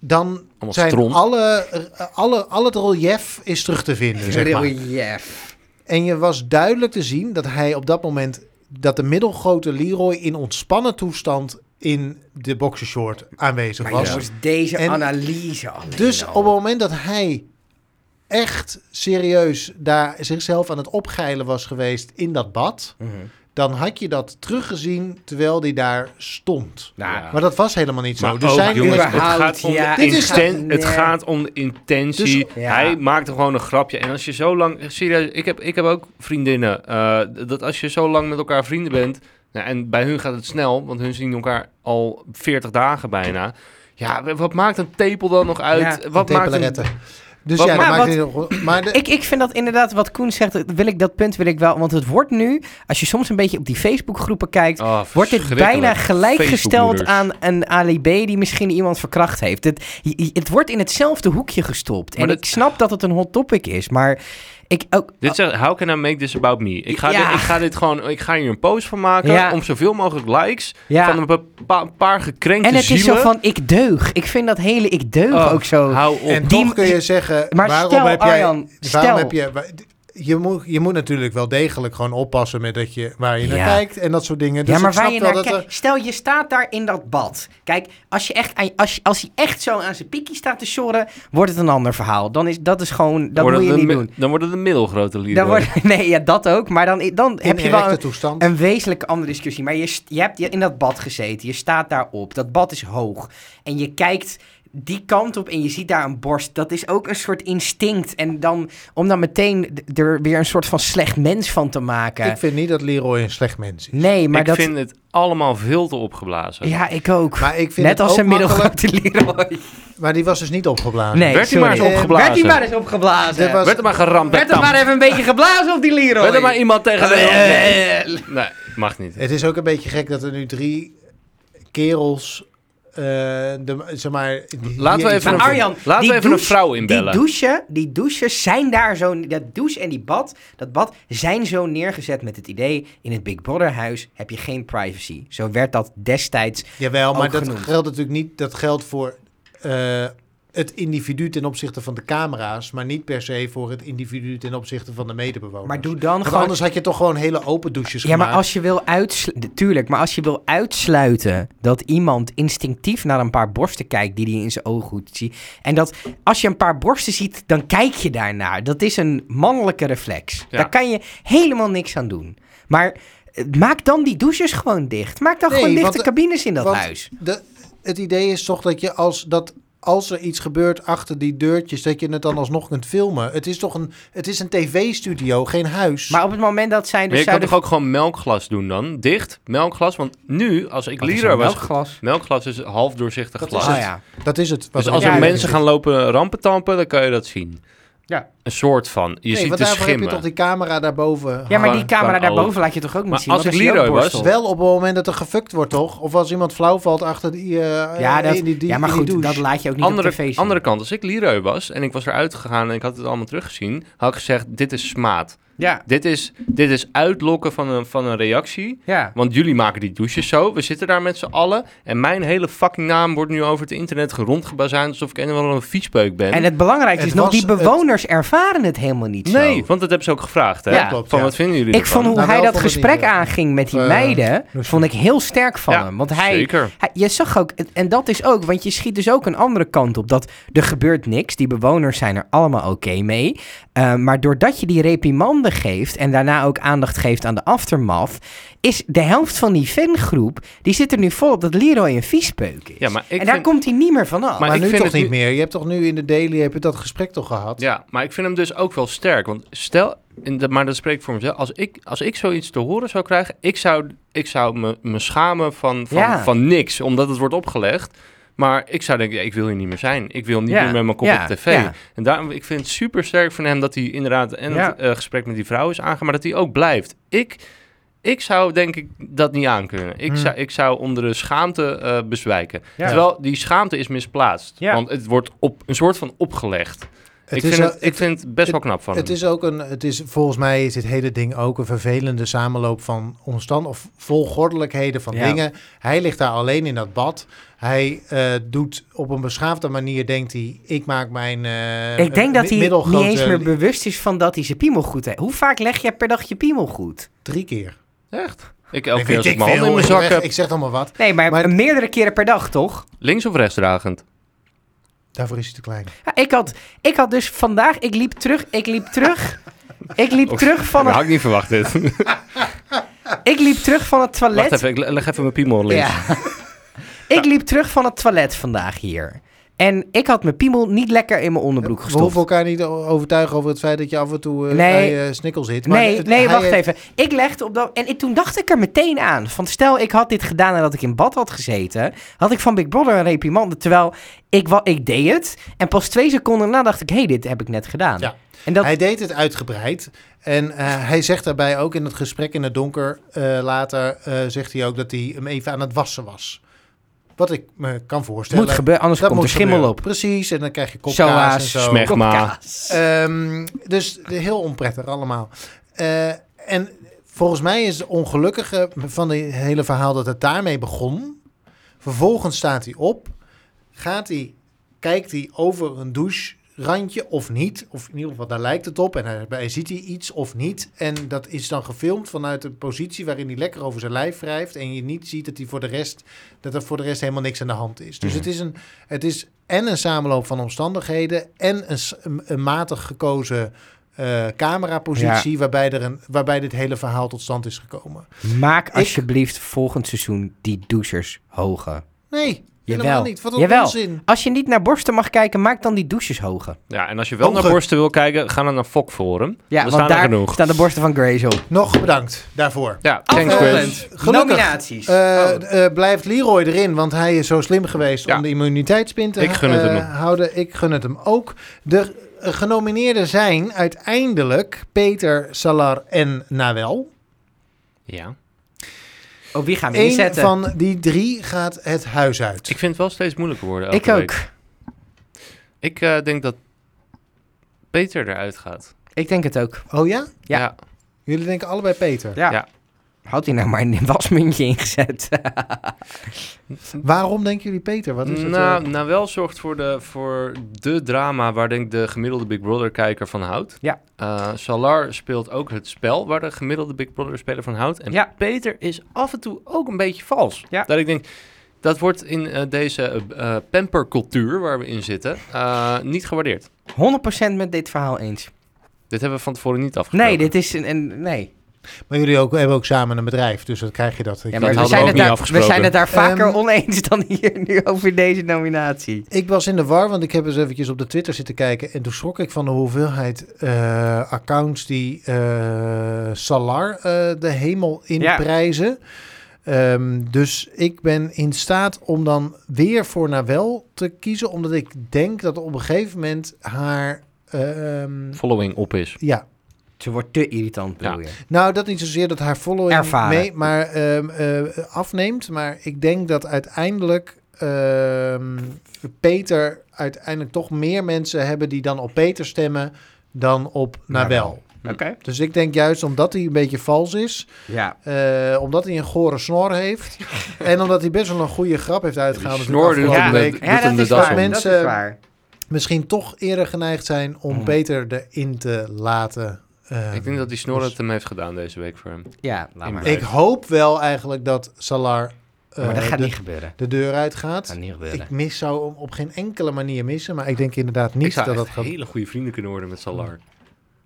Speaker 3: dan
Speaker 2: Allemaal
Speaker 3: zijn
Speaker 2: stront.
Speaker 3: alle, eh, alle, al het relief is terug te vinden. Zeg maar.
Speaker 1: Oh, Relief.
Speaker 3: En je was duidelijk te zien dat hij op dat moment dat de middelgrote Leroy in ontspannen toestand in de boxershort aanwezig
Speaker 1: Maar
Speaker 3: was.
Speaker 1: je moest deze
Speaker 3: En-
Speaker 1: analyse alleen
Speaker 3: Dus
Speaker 1: al.
Speaker 3: op het moment dat hij echt serieus daar zichzelf aan het opgeilen was geweest in dat bad,
Speaker 1: Mhm.
Speaker 3: dan had je dat teruggezien terwijl hij daar stond.
Speaker 1: Nou,
Speaker 2: Ja.
Speaker 3: Maar dat was helemaal niet zo.
Speaker 2: Maar
Speaker 3: dus
Speaker 2: ook,
Speaker 3: zijn
Speaker 2: jongens, het
Speaker 1: überhaupt,
Speaker 2: gaat om
Speaker 1: ja,
Speaker 2: de
Speaker 3: dit is-
Speaker 2: insten-
Speaker 1: nee.
Speaker 2: het gaat om de intentie.
Speaker 1: Dus- Ja.
Speaker 2: Hij maakte gewoon een grapje. En als je zo lang... Serieus, ik heb, ik heb ook vriendinnen. eh, dat als je zo lang met elkaar vrienden bent... Nou, en bij hun gaat het snel, want hun zien elkaar al 40 dagen bijna. Ja, wat maakt een tepel dan nog uit?
Speaker 1: Ja,
Speaker 2: wat
Speaker 3: een
Speaker 2: maakt
Speaker 3: tepeleretten.
Speaker 2: een...
Speaker 3: Dus
Speaker 2: Wat
Speaker 3: ja, dat
Speaker 1: maar
Speaker 3: maakt het niet- maar de-
Speaker 1: Ik, ik vind dat inderdaad, wat Koen zegt, dat wil ik, dat punt wil ik wel. Want het wordt nu, als je soms een beetje op die Facebookgroepen kijkt,
Speaker 2: Oh,
Speaker 1: wordt dit bijna
Speaker 2: verschrikkelijk.
Speaker 1: gelijkgesteld
Speaker 2: Facebookmoeders.
Speaker 1: aan een Ali B die misschien iemand verkracht heeft. Het, je- je- het wordt in hetzelfde hoekje gestopt.
Speaker 2: Maar
Speaker 1: en
Speaker 2: dat-
Speaker 1: ik snap dat het een hot topic is, maar ik ook...
Speaker 2: Dit zegt, how can I make this about me? Ik ga,
Speaker 1: Ja.
Speaker 2: dit, ik ga dit gewoon, ik ga hier een post van maken
Speaker 1: Ja.
Speaker 2: om zoveel mogelijk likes
Speaker 1: Ja.
Speaker 2: van een bepa- paar gekrenkte
Speaker 1: En het is
Speaker 2: zielen.
Speaker 1: zo van, ik deug. Ik vind dat hele ik deug
Speaker 2: Oh,
Speaker 1: ook zo...
Speaker 2: Hou op.
Speaker 3: en
Speaker 1: die-
Speaker 3: toch kun je zeggen,
Speaker 1: Maar
Speaker 3: waarom
Speaker 1: stel,
Speaker 3: heb jij...
Speaker 1: Arjan,
Speaker 3: waarom
Speaker 1: stel.
Speaker 3: heb je, wa- je moet, je moet natuurlijk wel degelijk gewoon oppassen met dat je, waar je naar
Speaker 1: Ja.
Speaker 3: kijkt en dat soort dingen. Dus
Speaker 1: ja, maar
Speaker 3: ik snap
Speaker 1: waar je
Speaker 3: wel
Speaker 1: naar
Speaker 3: dat
Speaker 1: kijkt.
Speaker 3: er-
Speaker 1: Stel, je staat daar in dat bad. Kijk, als, je echt, aan- als, je- als hij echt zo aan zijn pikkie staat te sjorren, wordt het een ander verhaal. Dan is dat is gewoon. Dat moet je niet doen.
Speaker 2: Dan worden de middelgrote lieden.
Speaker 1: Dan wordt, nee, ja, dat ook. Maar dan, dan heb
Speaker 3: in
Speaker 1: je wel
Speaker 3: erecte
Speaker 1: een,
Speaker 3: toestand.
Speaker 1: een wezenlijke andere discussie. Maar je, st- je hebt in dat bad gezeten. Je staat daarop. Dat bad is hoog. En je kijkt die kant op en je ziet daar een borst. Dat is ook een soort instinct. En dan om dan meteen d- er weer een soort van slecht mens van te maken.
Speaker 3: Ik vind niet dat Leroy een slecht mens is.
Speaker 1: nee, maar
Speaker 2: ik
Speaker 1: dat...
Speaker 2: vind het allemaal veel te opgeblazen.
Speaker 1: Ja, ik ook.
Speaker 3: Maar ik vind
Speaker 1: Net
Speaker 3: het
Speaker 1: als
Speaker 3: ook
Speaker 1: een
Speaker 3: makkelijk-
Speaker 1: middelgrote Leroy.
Speaker 3: Maar die was dus niet opgeblazen.
Speaker 1: Nee,
Speaker 2: Werd hij maar
Speaker 1: sorry.
Speaker 2: eens
Speaker 1: Eh,
Speaker 2: opgeblazen.
Speaker 1: Werd hij maar eens opgeblazen.
Speaker 3: Dit was-
Speaker 2: Werd er maar geramd.
Speaker 1: Werd er maar even een beetje geblazen op die Leroy.
Speaker 2: Werd er maar iemand tegen de...
Speaker 1: Eh, eh,
Speaker 2: Nee, mag niet.
Speaker 3: Het is ook een beetje gek dat er nu drie kerels, eh, de, zeg maar... die-
Speaker 2: Laten we
Speaker 3: die-
Speaker 2: even,
Speaker 1: Maar
Speaker 2: een,
Speaker 1: Arjan,
Speaker 2: laten
Speaker 1: die
Speaker 2: we even een
Speaker 1: douche-
Speaker 2: vrouw
Speaker 1: Die
Speaker 2: inbellen.
Speaker 1: douchen, die douches zijn daar zo... Dat douche en die bad, dat bad zijn zo neergezet met het idee... in het Big Brother huis heb je geen privacy. Zo werd dat destijds...
Speaker 3: Jawel, maar
Speaker 1: ook
Speaker 3: dat
Speaker 1: genoemd.
Speaker 3: geldt natuurlijk niet. Dat geldt voor eh, het individu ten opzichte van de camera's, maar niet per se voor het individu ten opzichte van de medebewoners.
Speaker 1: Maar doe dan
Speaker 3: Want
Speaker 1: gewoon...
Speaker 3: anders had je toch gewoon hele open douches
Speaker 1: Ja, maar
Speaker 3: gemaakt.
Speaker 1: als je wil uitsluiten... Tuurlijk, maar als je wil uitsluiten... dat iemand instinctief naar een paar borsten kijkt... die hij in zijn ooghoed ziet... en dat als je een paar borsten ziet... dan kijk je daarnaar. Dat is een mannelijke reflex.
Speaker 2: Ja.
Speaker 1: Daar kan je helemaal niks aan doen. Maar... eh, Maak dan die douches gewoon dicht. Maak dan
Speaker 3: Nee,
Speaker 1: gewoon dichte
Speaker 2: eh,
Speaker 3: want-
Speaker 1: cabines in dat
Speaker 3: want-
Speaker 1: huis.
Speaker 3: De, het idee is toch dat je als dat als er iets gebeurt achter die deurtjes, dat je het dan alsnog kunt filmen. Het is toch een, het is een tv-studio, geen huis.
Speaker 1: Maar op het moment dat zij
Speaker 2: Maar
Speaker 1: dus
Speaker 2: je kan
Speaker 1: zouden...
Speaker 2: toch ook gewoon melkglas doen dan? Dicht, melkglas. Want nu, als
Speaker 1: "Oh,
Speaker 2: ik leader was...
Speaker 1: glas.
Speaker 2: Melkglas is half doorzichtig
Speaker 3: Dat
Speaker 2: glas.
Speaker 3: is
Speaker 1: Oh
Speaker 3: het.
Speaker 1: ja.
Speaker 3: dat is het.
Speaker 2: Dus
Speaker 3: Wat
Speaker 2: als
Speaker 1: Ja,
Speaker 2: er
Speaker 1: ja,
Speaker 2: mensen gaan lopen rampentampen, dan kan je dat zien.
Speaker 1: Ja.
Speaker 2: Een soort van. Je
Speaker 3: nee,
Speaker 2: ziet
Speaker 3: want
Speaker 2: de
Speaker 3: daarvoor heb je
Speaker 2: schimmen.
Speaker 3: toch die camera daarboven.
Speaker 1: ja, maar
Speaker 2: Kan-
Speaker 1: die camera
Speaker 2: kan
Speaker 1: daarboven
Speaker 2: ook.
Speaker 1: laat je toch ook niet
Speaker 2: oh. Maar
Speaker 1: zien?
Speaker 2: als
Speaker 1: want
Speaker 2: ik
Speaker 1: dan zie je
Speaker 2: Leroy
Speaker 1: ook
Speaker 2: was-
Speaker 1: borstel.
Speaker 3: Wel op het moment dat er gefukt wordt, toch? Of als iemand flauw valt achter die... eh,
Speaker 1: Ja, dat,
Speaker 3: in die, die-
Speaker 1: ja, maar
Speaker 3: in die
Speaker 1: goed, dat
Speaker 3: douche.
Speaker 1: laat je ook niet op tv
Speaker 2: Andere,
Speaker 1: zien.
Speaker 2: andere kant, als ik Leroy was en ik was eruit gegaan en ik had het allemaal teruggezien, had ik gezegd: Dit is smaad.
Speaker 1: Ja,
Speaker 2: Dit is, dit is uitlokken van een, van een reactie.
Speaker 1: ja.
Speaker 2: Want jullie maken die douches zo. We zitten daar met z'n allen. En mijn hele fucking naam wordt nu over het internet gerondgebazuind. Alsof ik een of andere viespeuk ben.
Speaker 1: En het belangrijkste
Speaker 3: Het
Speaker 1: is nog,
Speaker 3: was
Speaker 1: die bewoners ervaren het helemaal niet zo.
Speaker 2: nee, want dat hebben ze ook gevraagd. Hè?
Speaker 1: Ja.
Speaker 3: Klopt,
Speaker 2: Van
Speaker 3: ja.
Speaker 2: wat vinden jullie
Speaker 1: Ik
Speaker 2: ervan?
Speaker 1: vond hoe
Speaker 3: Nou,
Speaker 1: hij
Speaker 3: wel
Speaker 1: dat
Speaker 3: vond het niet,
Speaker 1: gesprek
Speaker 3: eh,
Speaker 1: aangaan met die
Speaker 3: eh,
Speaker 1: meiden, vond ik heel sterk van
Speaker 2: Ja,
Speaker 1: hem. Want hij,
Speaker 2: Zeker.
Speaker 1: hij- je zag ook, en dat is ook, want je schiet dus ook een andere kant op. Dat er gebeurt niks, die bewoners zijn er allemaal oké mee. Eh, maar doordat je die reprimande geeft en daarna ook aandacht geeft aan de aftermath, is de helft van die fangroep, die zit er nu vol op dat Leroy een viespeuk is.
Speaker 2: Ja, maar ik
Speaker 1: en daar
Speaker 2: vind-
Speaker 1: komt hij niet meer vanaf.
Speaker 2: Maar
Speaker 3: Maar,
Speaker 2: ik
Speaker 3: nu
Speaker 2: vind
Speaker 3: toch
Speaker 2: het
Speaker 3: niet
Speaker 2: nu-
Speaker 3: meer. Je hebt toch nu in de daily heb je dat gesprek toch gehad?
Speaker 2: Ja, maar ik vind hem dus ook wel sterk. Want stel, en dat- maar dat spreek ik voor mezelf. Als ik, als ik zoiets te horen zou krijgen, ik zou, ik zou me, me schamen van, van,
Speaker 1: Ja.
Speaker 2: van niks, omdat het wordt opgelegd. Maar ik zou denken, ja, ik wil hier niet meer zijn. Ik wil niet
Speaker 1: Ja,
Speaker 2: meer met mijn kop
Speaker 1: ja,
Speaker 2: op tv.
Speaker 1: ja.
Speaker 2: En daarom, ik vind het super sterk van hem dat hij inderdaad en
Speaker 1: Ja.
Speaker 2: het eh, gesprek met die vrouw is aangegaan, maar dat hij ook blijft. Ik, ik zou denk ik dat niet aankunnen. Ik,
Speaker 3: Hmm.
Speaker 2: zou, ik zou onder de schaamte eh, bezwijken.
Speaker 1: Ja.
Speaker 2: Terwijl die schaamte is misplaatst.
Speaker 1: Ja.
Speaker 2: Want het wordt op een soort van opgelegd
Speaker 3: Het
Speaker 2: ik,
Speaker 3: is
Speaker 2: vind
Speaker 3: een-
Speaker 2: het, ik vind het best wel knap van
Speaker 3: Het
Speaker 2: hem.
Speaker 3: is ook een, het is, volgens mij is dit hele ding ook een vervelende samenloop van omstand of volgordelijkheden van
Speaker 1: Ja.
Speaker 3: dingen. Hij ligt daar alleen in dat bad. Hij eh, doet op een beschaafde manier, denkt hij, ik maak mijn eh,
Speaker 1: ik denk
Speaker 3: mi-
Speaker 1: dat hij niet
Speaker 3: middelgrote
Speaker 1: eens meer bewust is van dat hij zijn piemel goed heeft. Hoe vaak leg jij per dag je piemel goed?
Speaker 3: drie keer.
Speaker 2: Echt? Ik elke keer
Speaker 3: Ik weet
Speaker 2: als ik
Speaker 3: ik
Speaker 2: mijn
Speaker 3: veel,
Speaker 2: handen in mijn
Speaker 3: ik
Speaker 2: zak
Speaker 3: zeg-
Speaker 2: heb.
Speaker 3: Ik zeg allemaal wat.
Speaker 1: Nee, maar,
Speaker 3: Maar-
Speaker 1: meerdere keren per dag, toch?
Speaker 2: Links of rechtsdragend?
Speaker 3: Daarvoor is hij te klein.
Speaker 1: Ja, ik, had, ik had dus vandaag... Ik liep terug, ik liep terug... ik, liep
Speaker 2: Oef,
Speaker 1: terug van het,
Speaker 2: Dat had ik niet verwacht dit.
Speaker 1: ik liep terug van het
Speaker 2: Wacht
Speaker 1: toilet.
Speaker 2: even, ik le- leg even mijn piemel links.
Speaker 1: Ja. ik liep terug van het toilet vandaag hier. En ik had mijn piemel niet lekker in mijn onderbroek
Speaker 3: We
Speaker 1: gestopt.
Speaker 3: hoeven elkaar niet o- overtuigen over het feit dat je af en toe eh,
Speaker 1: Nee.
Speaker 3: bij eh, Snickle zit. Maar
Speaker 1: nee,
Speaker 3: het-
Speaker 1: nee
Speaker 3: hij eh,
Speaker 1: wacht
Speaker 3: heeft-
Speaker 1: even. Ik legde op dat... En ik, toen dacht ik er meteen aan. Van stel, ik had dit gedaan nadat ik in bad had gezeten. Had ik van Big Brother een reprimande. Terwijl ik, wa- ik deed het. En pas twee seconden na dacht ik... Hé, hey, dit heb ik net gedaan.
Speaker 3: Ja.
Speaker 1: En dat...
Speaker 3: Hij deed het uitgebreid. En eh, hij zegt daarbij ook in het gesprek in het donker eh, later, eh, zegt hij ook dat hij hem even aan het wassen was. Wat ik me kan voorstellen.
Speaker 1: moet gebeuren, anders komt er
Speaker 3: moet
Speaker 1: schimmel
Speaker 3: gebeuren.
Speaker 1: op.
Speaker 3: Precies, en dan krijg je kopkaas en
Speaker 1: Soa's,
Speaker 3: zo.
Speaker 2: smek. Smegma.
Speaker 1: kopkaas.
Speaker 3: Ehm, dus heel onprettig allemaal. Eh, en volgens mij is het ongelukkige van het hele verhaal dat het daarmee begon. Vervolgens staat hij op, gaat hij, kijkt hij over een douche randje of niet. Of in ieder geval, daar lijkt het op. En hij, hij ziet hij iets of niet. En dat is dan gefilmd vanuit een positie waarin hij lekker over zijn lijf wrijft. En je niet ziet dat, hij voor de rest, dat er voor de rest helemaal niks aan de hand is. Dus
Speaker 2: Mhm.
Speaker 3: het is een... Het is en een samenloop van omstandigheden en een, s- een- een matig gekozen eh, camerapositie waarbij, er een, waarbij dit hele verhaal tot stand is gekomen.
Speaker 1: Maak alsjeblieft volgend seizoen die douchers hoger.
Speaker 3: Nee,
Speaker 1: Jawel.
Speaker 3: helemaal niet. Wat een
Speaker 1: Jawel.
Speaker 3: onzin.
Speaker 1: Als je niet naar borsten mag kijken, maak dan die douches hoger.
Speaker 2: Ja, en als je wel naar
Speaker 3: Hoger.
Speaker 2: borsten wil kijken, ga dan naar Fok Forum.
Speaker 1: Ja,
Speaker 2: Daar
Speaker 1: want
Speaker 2: staan er
Speaker 1: daar
Speaker 2: genoeg.
Speaker 1: staan de borsten van Grace op.
Speaker 3: Nog bedankt daarvoor.
Speaker 2: Ja, thanks
Speaker 3: Eh,
Speaker 2: Chris.
Speaker 1: Afrondend.
Speaker 3: gelukkig.
Speaker 1: Nominaties.
Speaker 3: Eh, eh, blijft Leroy erin, want hij is zo slim geweest
Speaker 2: Oh. Ja.
Speaker 3: om de immuniteitspin te
Speaker 2: Ik gun het
Speaker 3: eh,
Speaker 2: hem.
Speaker 3: houden. Ik gun het hem ook. De eh, genomineerden zijn uiteindelijk Peter, Salar en Nawel.
Speaker 2: Ja.
Speaker 1: Oh, wie gaan we
Speaker 3: Eén
Speaker 1: inzetten?
Speaker 3: van die drie gaat het huis uit.
Speaker 2: Ik vind het wel steeds moeilijker worden. elke
Speaker 1: Ik ook.
Speaker 2: week. Ik eh, denk dat Peter eruit gaat.
Speaker 1: Ik denk het ook.
Speaker 3: Oh ja?
Speaker 1: Ja.
Speaker 3: Jullie denken allebei Peter.
Speaker 1: Ja.
Speaker 2: Ja.
Speaker 1: Had hij nou maar een wasmuntje ingezet?
Speaker 3: Waarom denken jullie Peter? Wat is het?
Speaker 2: nou,
Speaker 3: eh?
Speaker 2: nou, wel zorgt voor de, voor de drama waar denk ik de gemiddelde Big Brother-kijker van houdt.
Speaker 1: Ja.
Speaker 2: Eh, Salar speelt ook het spel waar de gemiddelde Big Brother-speler van houdt. En
Speaker 1: Ja.
Speaker 2: Peter is af en toe ook een beetje vals.
Speaker 1: Ja.
Speaker 2: Dat ik denk, dat wordt in eh, deze eh, eh, pampercultuur waar we in zitten eh, niet
Speaker 1: 100%
Speaker 2: gewaardeerd.
Speaker 1: met dit verhaal eens.
Speaker 2: Dit hebben we van tevoren niet afgesproken.
Speaker 1: Nee, dit is een... een nee.
Speaker 3: Maar jullie ook, hebben ook samen een bedrijf, dus dan krijg je dat. Ik-
Speaker 1: Ja, maar we
Speaker 2: hadden we
Speaker 1: zijn,
Speaker 2: ook
Speaker 1: het
Speaker 2: niet
Speaker 1: daar, we
Speaker 2: afgesproken.
Speaker 1: zijn het daar vaker
Speaker 3: Ehm,
Speaker 1: oneens dan hier nu over deze nominatie.
Speaker 3: Ik was in de war, want ik heb eens eventjes op de Twitter zitten kijken. En toen schrok ik van de hoeveelheid eh, accounts die eh, Salar eh, de hemel
Speaker 1: Ja.
Speaker 3: inprijzen. Ehm, dus ik ben in staat om dan weer voor Nawel te kiezen. Omdat ik denk dat op een gegeven moment haar... ehm,
Speaker 2: Following op is.
Speaker 3: ja,
Speaker 1: Ze wordt te irritant, bedoel je?
Speaker 3: Nou, dat niet zozeer dat haar following
Speaker 1: Ervaren.
Speaker 3: mee maar, ehm, eh, afneemt. Maar ik denk dat uiteindelijk ehm, Peter uiteindelijk toch meer mensen hebben die dan op Peter stemmen dan op Nabel.
Speaker 1: Nawel. Oké.
Speaker 3: Dus ik denk juist omdat hij een beetje vals is,
Speaker 1: Ja.
Speaker 3: eh, omdat hij een gore snor heeft en omdat hij best wel een goede grap heeft uitgehaald. dus
Speaker 2: Die
Speaker 3: natuurlijk
Speaker 2: snor doet
Speaker 3: afgelopen
Speaker 2: hem
Speaker 1: de-
Speaker 3: week,
Speaker 2: doet hem de das om.
Speaker 3: mensen-
Speaker 1: dat is waar.
Speaker 3: misschien toch eerder geneigd zijn om
Speaker 1: Hmm.
Speaker 3: Peter erin te laten. ehm,
Speaker 2: Ik denk dat die snor
Speaker 3: dus-
Speaker 2: het hem heeft gedaan deze week voor hem.
Speaker 1: Ja, laat maar.
Speaker 3: Ik hoop wel eigenlijk dat Salar eh,
Speaker 1: maar dat gaat
Speaker 3: de,
Speaker 1: niet gebeuren.
Speaker 3: de deur
Speaker 1: Dat
Speaker 3: uitgaat.
Speaker 1: gaat niet gebeuren.
Speaker 3: Ik mis zou hem op geen enkele manier missen, maar ik denk inderdaad
Speaker 2: Ik
Speaker 3: niet
Speaker 2: zou
Speaker 3: dat
Speaker 2: echt
Speaker 3: dat gaat.
Speaker 2: hele goede vrienden kunnen worden met Salar.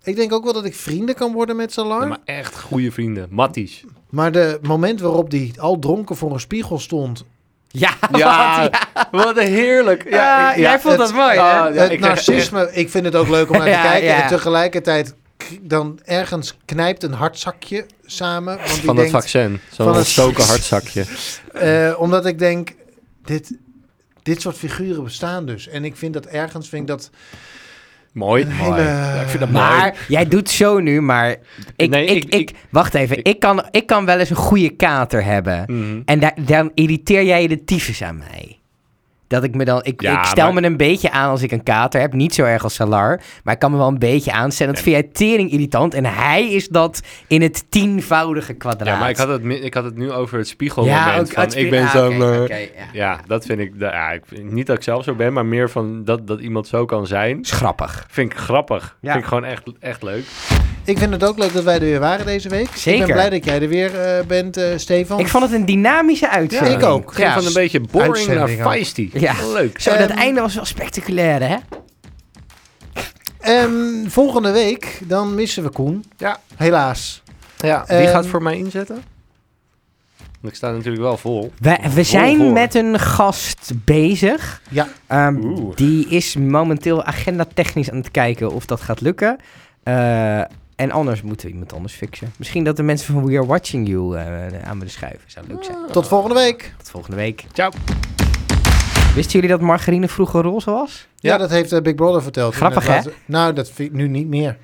Speaker 3: Ik denk ook wel dat ik vrienden kan worden met Salar.
Speaker 2: Ja,
Speaker 3: maar...
Speaker 2: maar echt goede vrienden. Matties.
Speaker 3: de moment waarop die al dronken voor een spiegel stond,
Speaker 1: Ja,
Speaker 2: Ja, wat heerlijk. Ja,
Speaker 1: Ah, jij vond
Speaker 3: het-
Speaker 1: dat mooi, hè?
Speaker 2: Ah, ja, ik
Speaker 3: het
Speaker 2: krijg
Speaker 3: narcisme, ik vind het ook leuk om naar te
Speaker 1: Ja,
Speaker 3: kijken.
Speaker 1: ja.
Speaker 3: En tegelijkertijd k- dan ergens knijpt een hartzakje samen, want
Speaker 2: Van
Speaker 3: die
Speaker 2: het
Speaker 3: denkt,
Speaker 2: vaccin. Zo'n
Speaker 3: van het-
Speaker 2: ontstoken hartzakje.
Speaker 3: eh, omdat ik denk dit. Dit soort figuren bestaan dus. En ik vind dat ergens, vind ik dat...
Speaker 2: Mooi.
Speaker 3: Een
Speaker 2: mooi.
Speaker 3: hele-
Speaker 2: Ja, ik vind dat mooi.
Speaker 1: Maar jij doet zo nu, maar ik,
Speaker 2: Nee,
Speaker 1: ik,
Speaker 2: ik-
Speaker 1: ik, wacht even. Ik, kan, ik kan wel eens een goede kater hebben.
Speaker 2: Mhm.
Speaker 1: En da- dan irriteer jij de tyfus aan mij. Dat ik me dan, ik,
Speaker 2: Ja,
Speaker 1: ik stel
Speaker 2: maar-
Speaker 1: me een beetje aan als ik een kater heb. Niet zo erg als Salar, maar ik kan me wel een beetje aanstellen. Dat vind jij tering irritant. En hij is dat in het tienvoudige kwadraat.
Speaker 2: Ja, maar ik had, het, mi- ik had het nu over het spiegelmoment.
Speaker 1: Ja, ook-
Speaker 2: van,
Speaker 1: het-
Speaker 2: ik ben
Speaker 1: ah,
Speaker 2: zo...
Speaker 1: oké,
Speaker 2: eh,
Speaker 1: oké, ja.
Speaker 2: Ja, dat vind ik, da- ja, ik vind- Niet dat ik zelf zo ben, maar meer van dat, dat iemand zo kan zijn.
Speaker 1: Is grappig.
Speaker 2: Vind ik grappig.
Speaker 1: Ja.
Speaker 2: Vind ik gewoon echt, echt leuk.
Speaker 3: Ik vind het ook leuk dat wij er weer waren deze week. Ik
Speaker 1: Zeker.
Speaker 3: ben blij dat jij er weer eh, bent, eh, Stefan.
Speaker 1: Ik vond het een dynamische uitzending.
Speaker 3: ik ook.
Speaker 2: Ging
Speaker 1: Ja.
Speaker 2: van een beetje boring naar
Speaker 3: Uitzending ook.
Speaker 2: feisty.
Speaker 1: Ja.
Speaker 2: Leuk.
Speaker 1: Zo, dat
Speaker 3: Ehm,
Speaker 1: einde was wel spectaculair, hè?
Speaker 3: Ehm, volgende week, dan missen we Koen.
Speaker 2: Ja.
Speaker 3: Helaas.
Speaker 2: Ja,
Speaker 3: Ehm,
Speaker 2: wie gaat voor mij inzetten? Want ik sta natuurlijk wel vol.
Speaker 1: We, we zijn
Speaker 2: voor.
Speaker 1: met een gast bezig.
Speaker 3: Ja.
Speaker 1: Ehm,
Speaker 2: Oeh.
Speaker 1: die is momenteel agendatechnisch aan het kijken of dat gaat lukken. Eh, en anders moeten we iemand anders fixen. Misschien dat de mensen van We Are Watching You eh, aan willen schuiven. Zou leuk
Speaker 2: Ah.
Speaker 1: zijn.
Speaker 3: Tot volgende week.
Speaker 1: Tot volgende week.
Speaker 2: Ciao.
Speaker 1: Wisten jullie dat margarine vroeger roze was?
Speaker 3: Ja,
Speaker 2: Ja.
Speaker 3: dat heeft eh, Big Brother verteld.
Speaker 1: Grappig,
Speaker 3: In het
Speaker 1: hè?
Speaker 3: laatste- Nou, dat vind ik nu niet meer.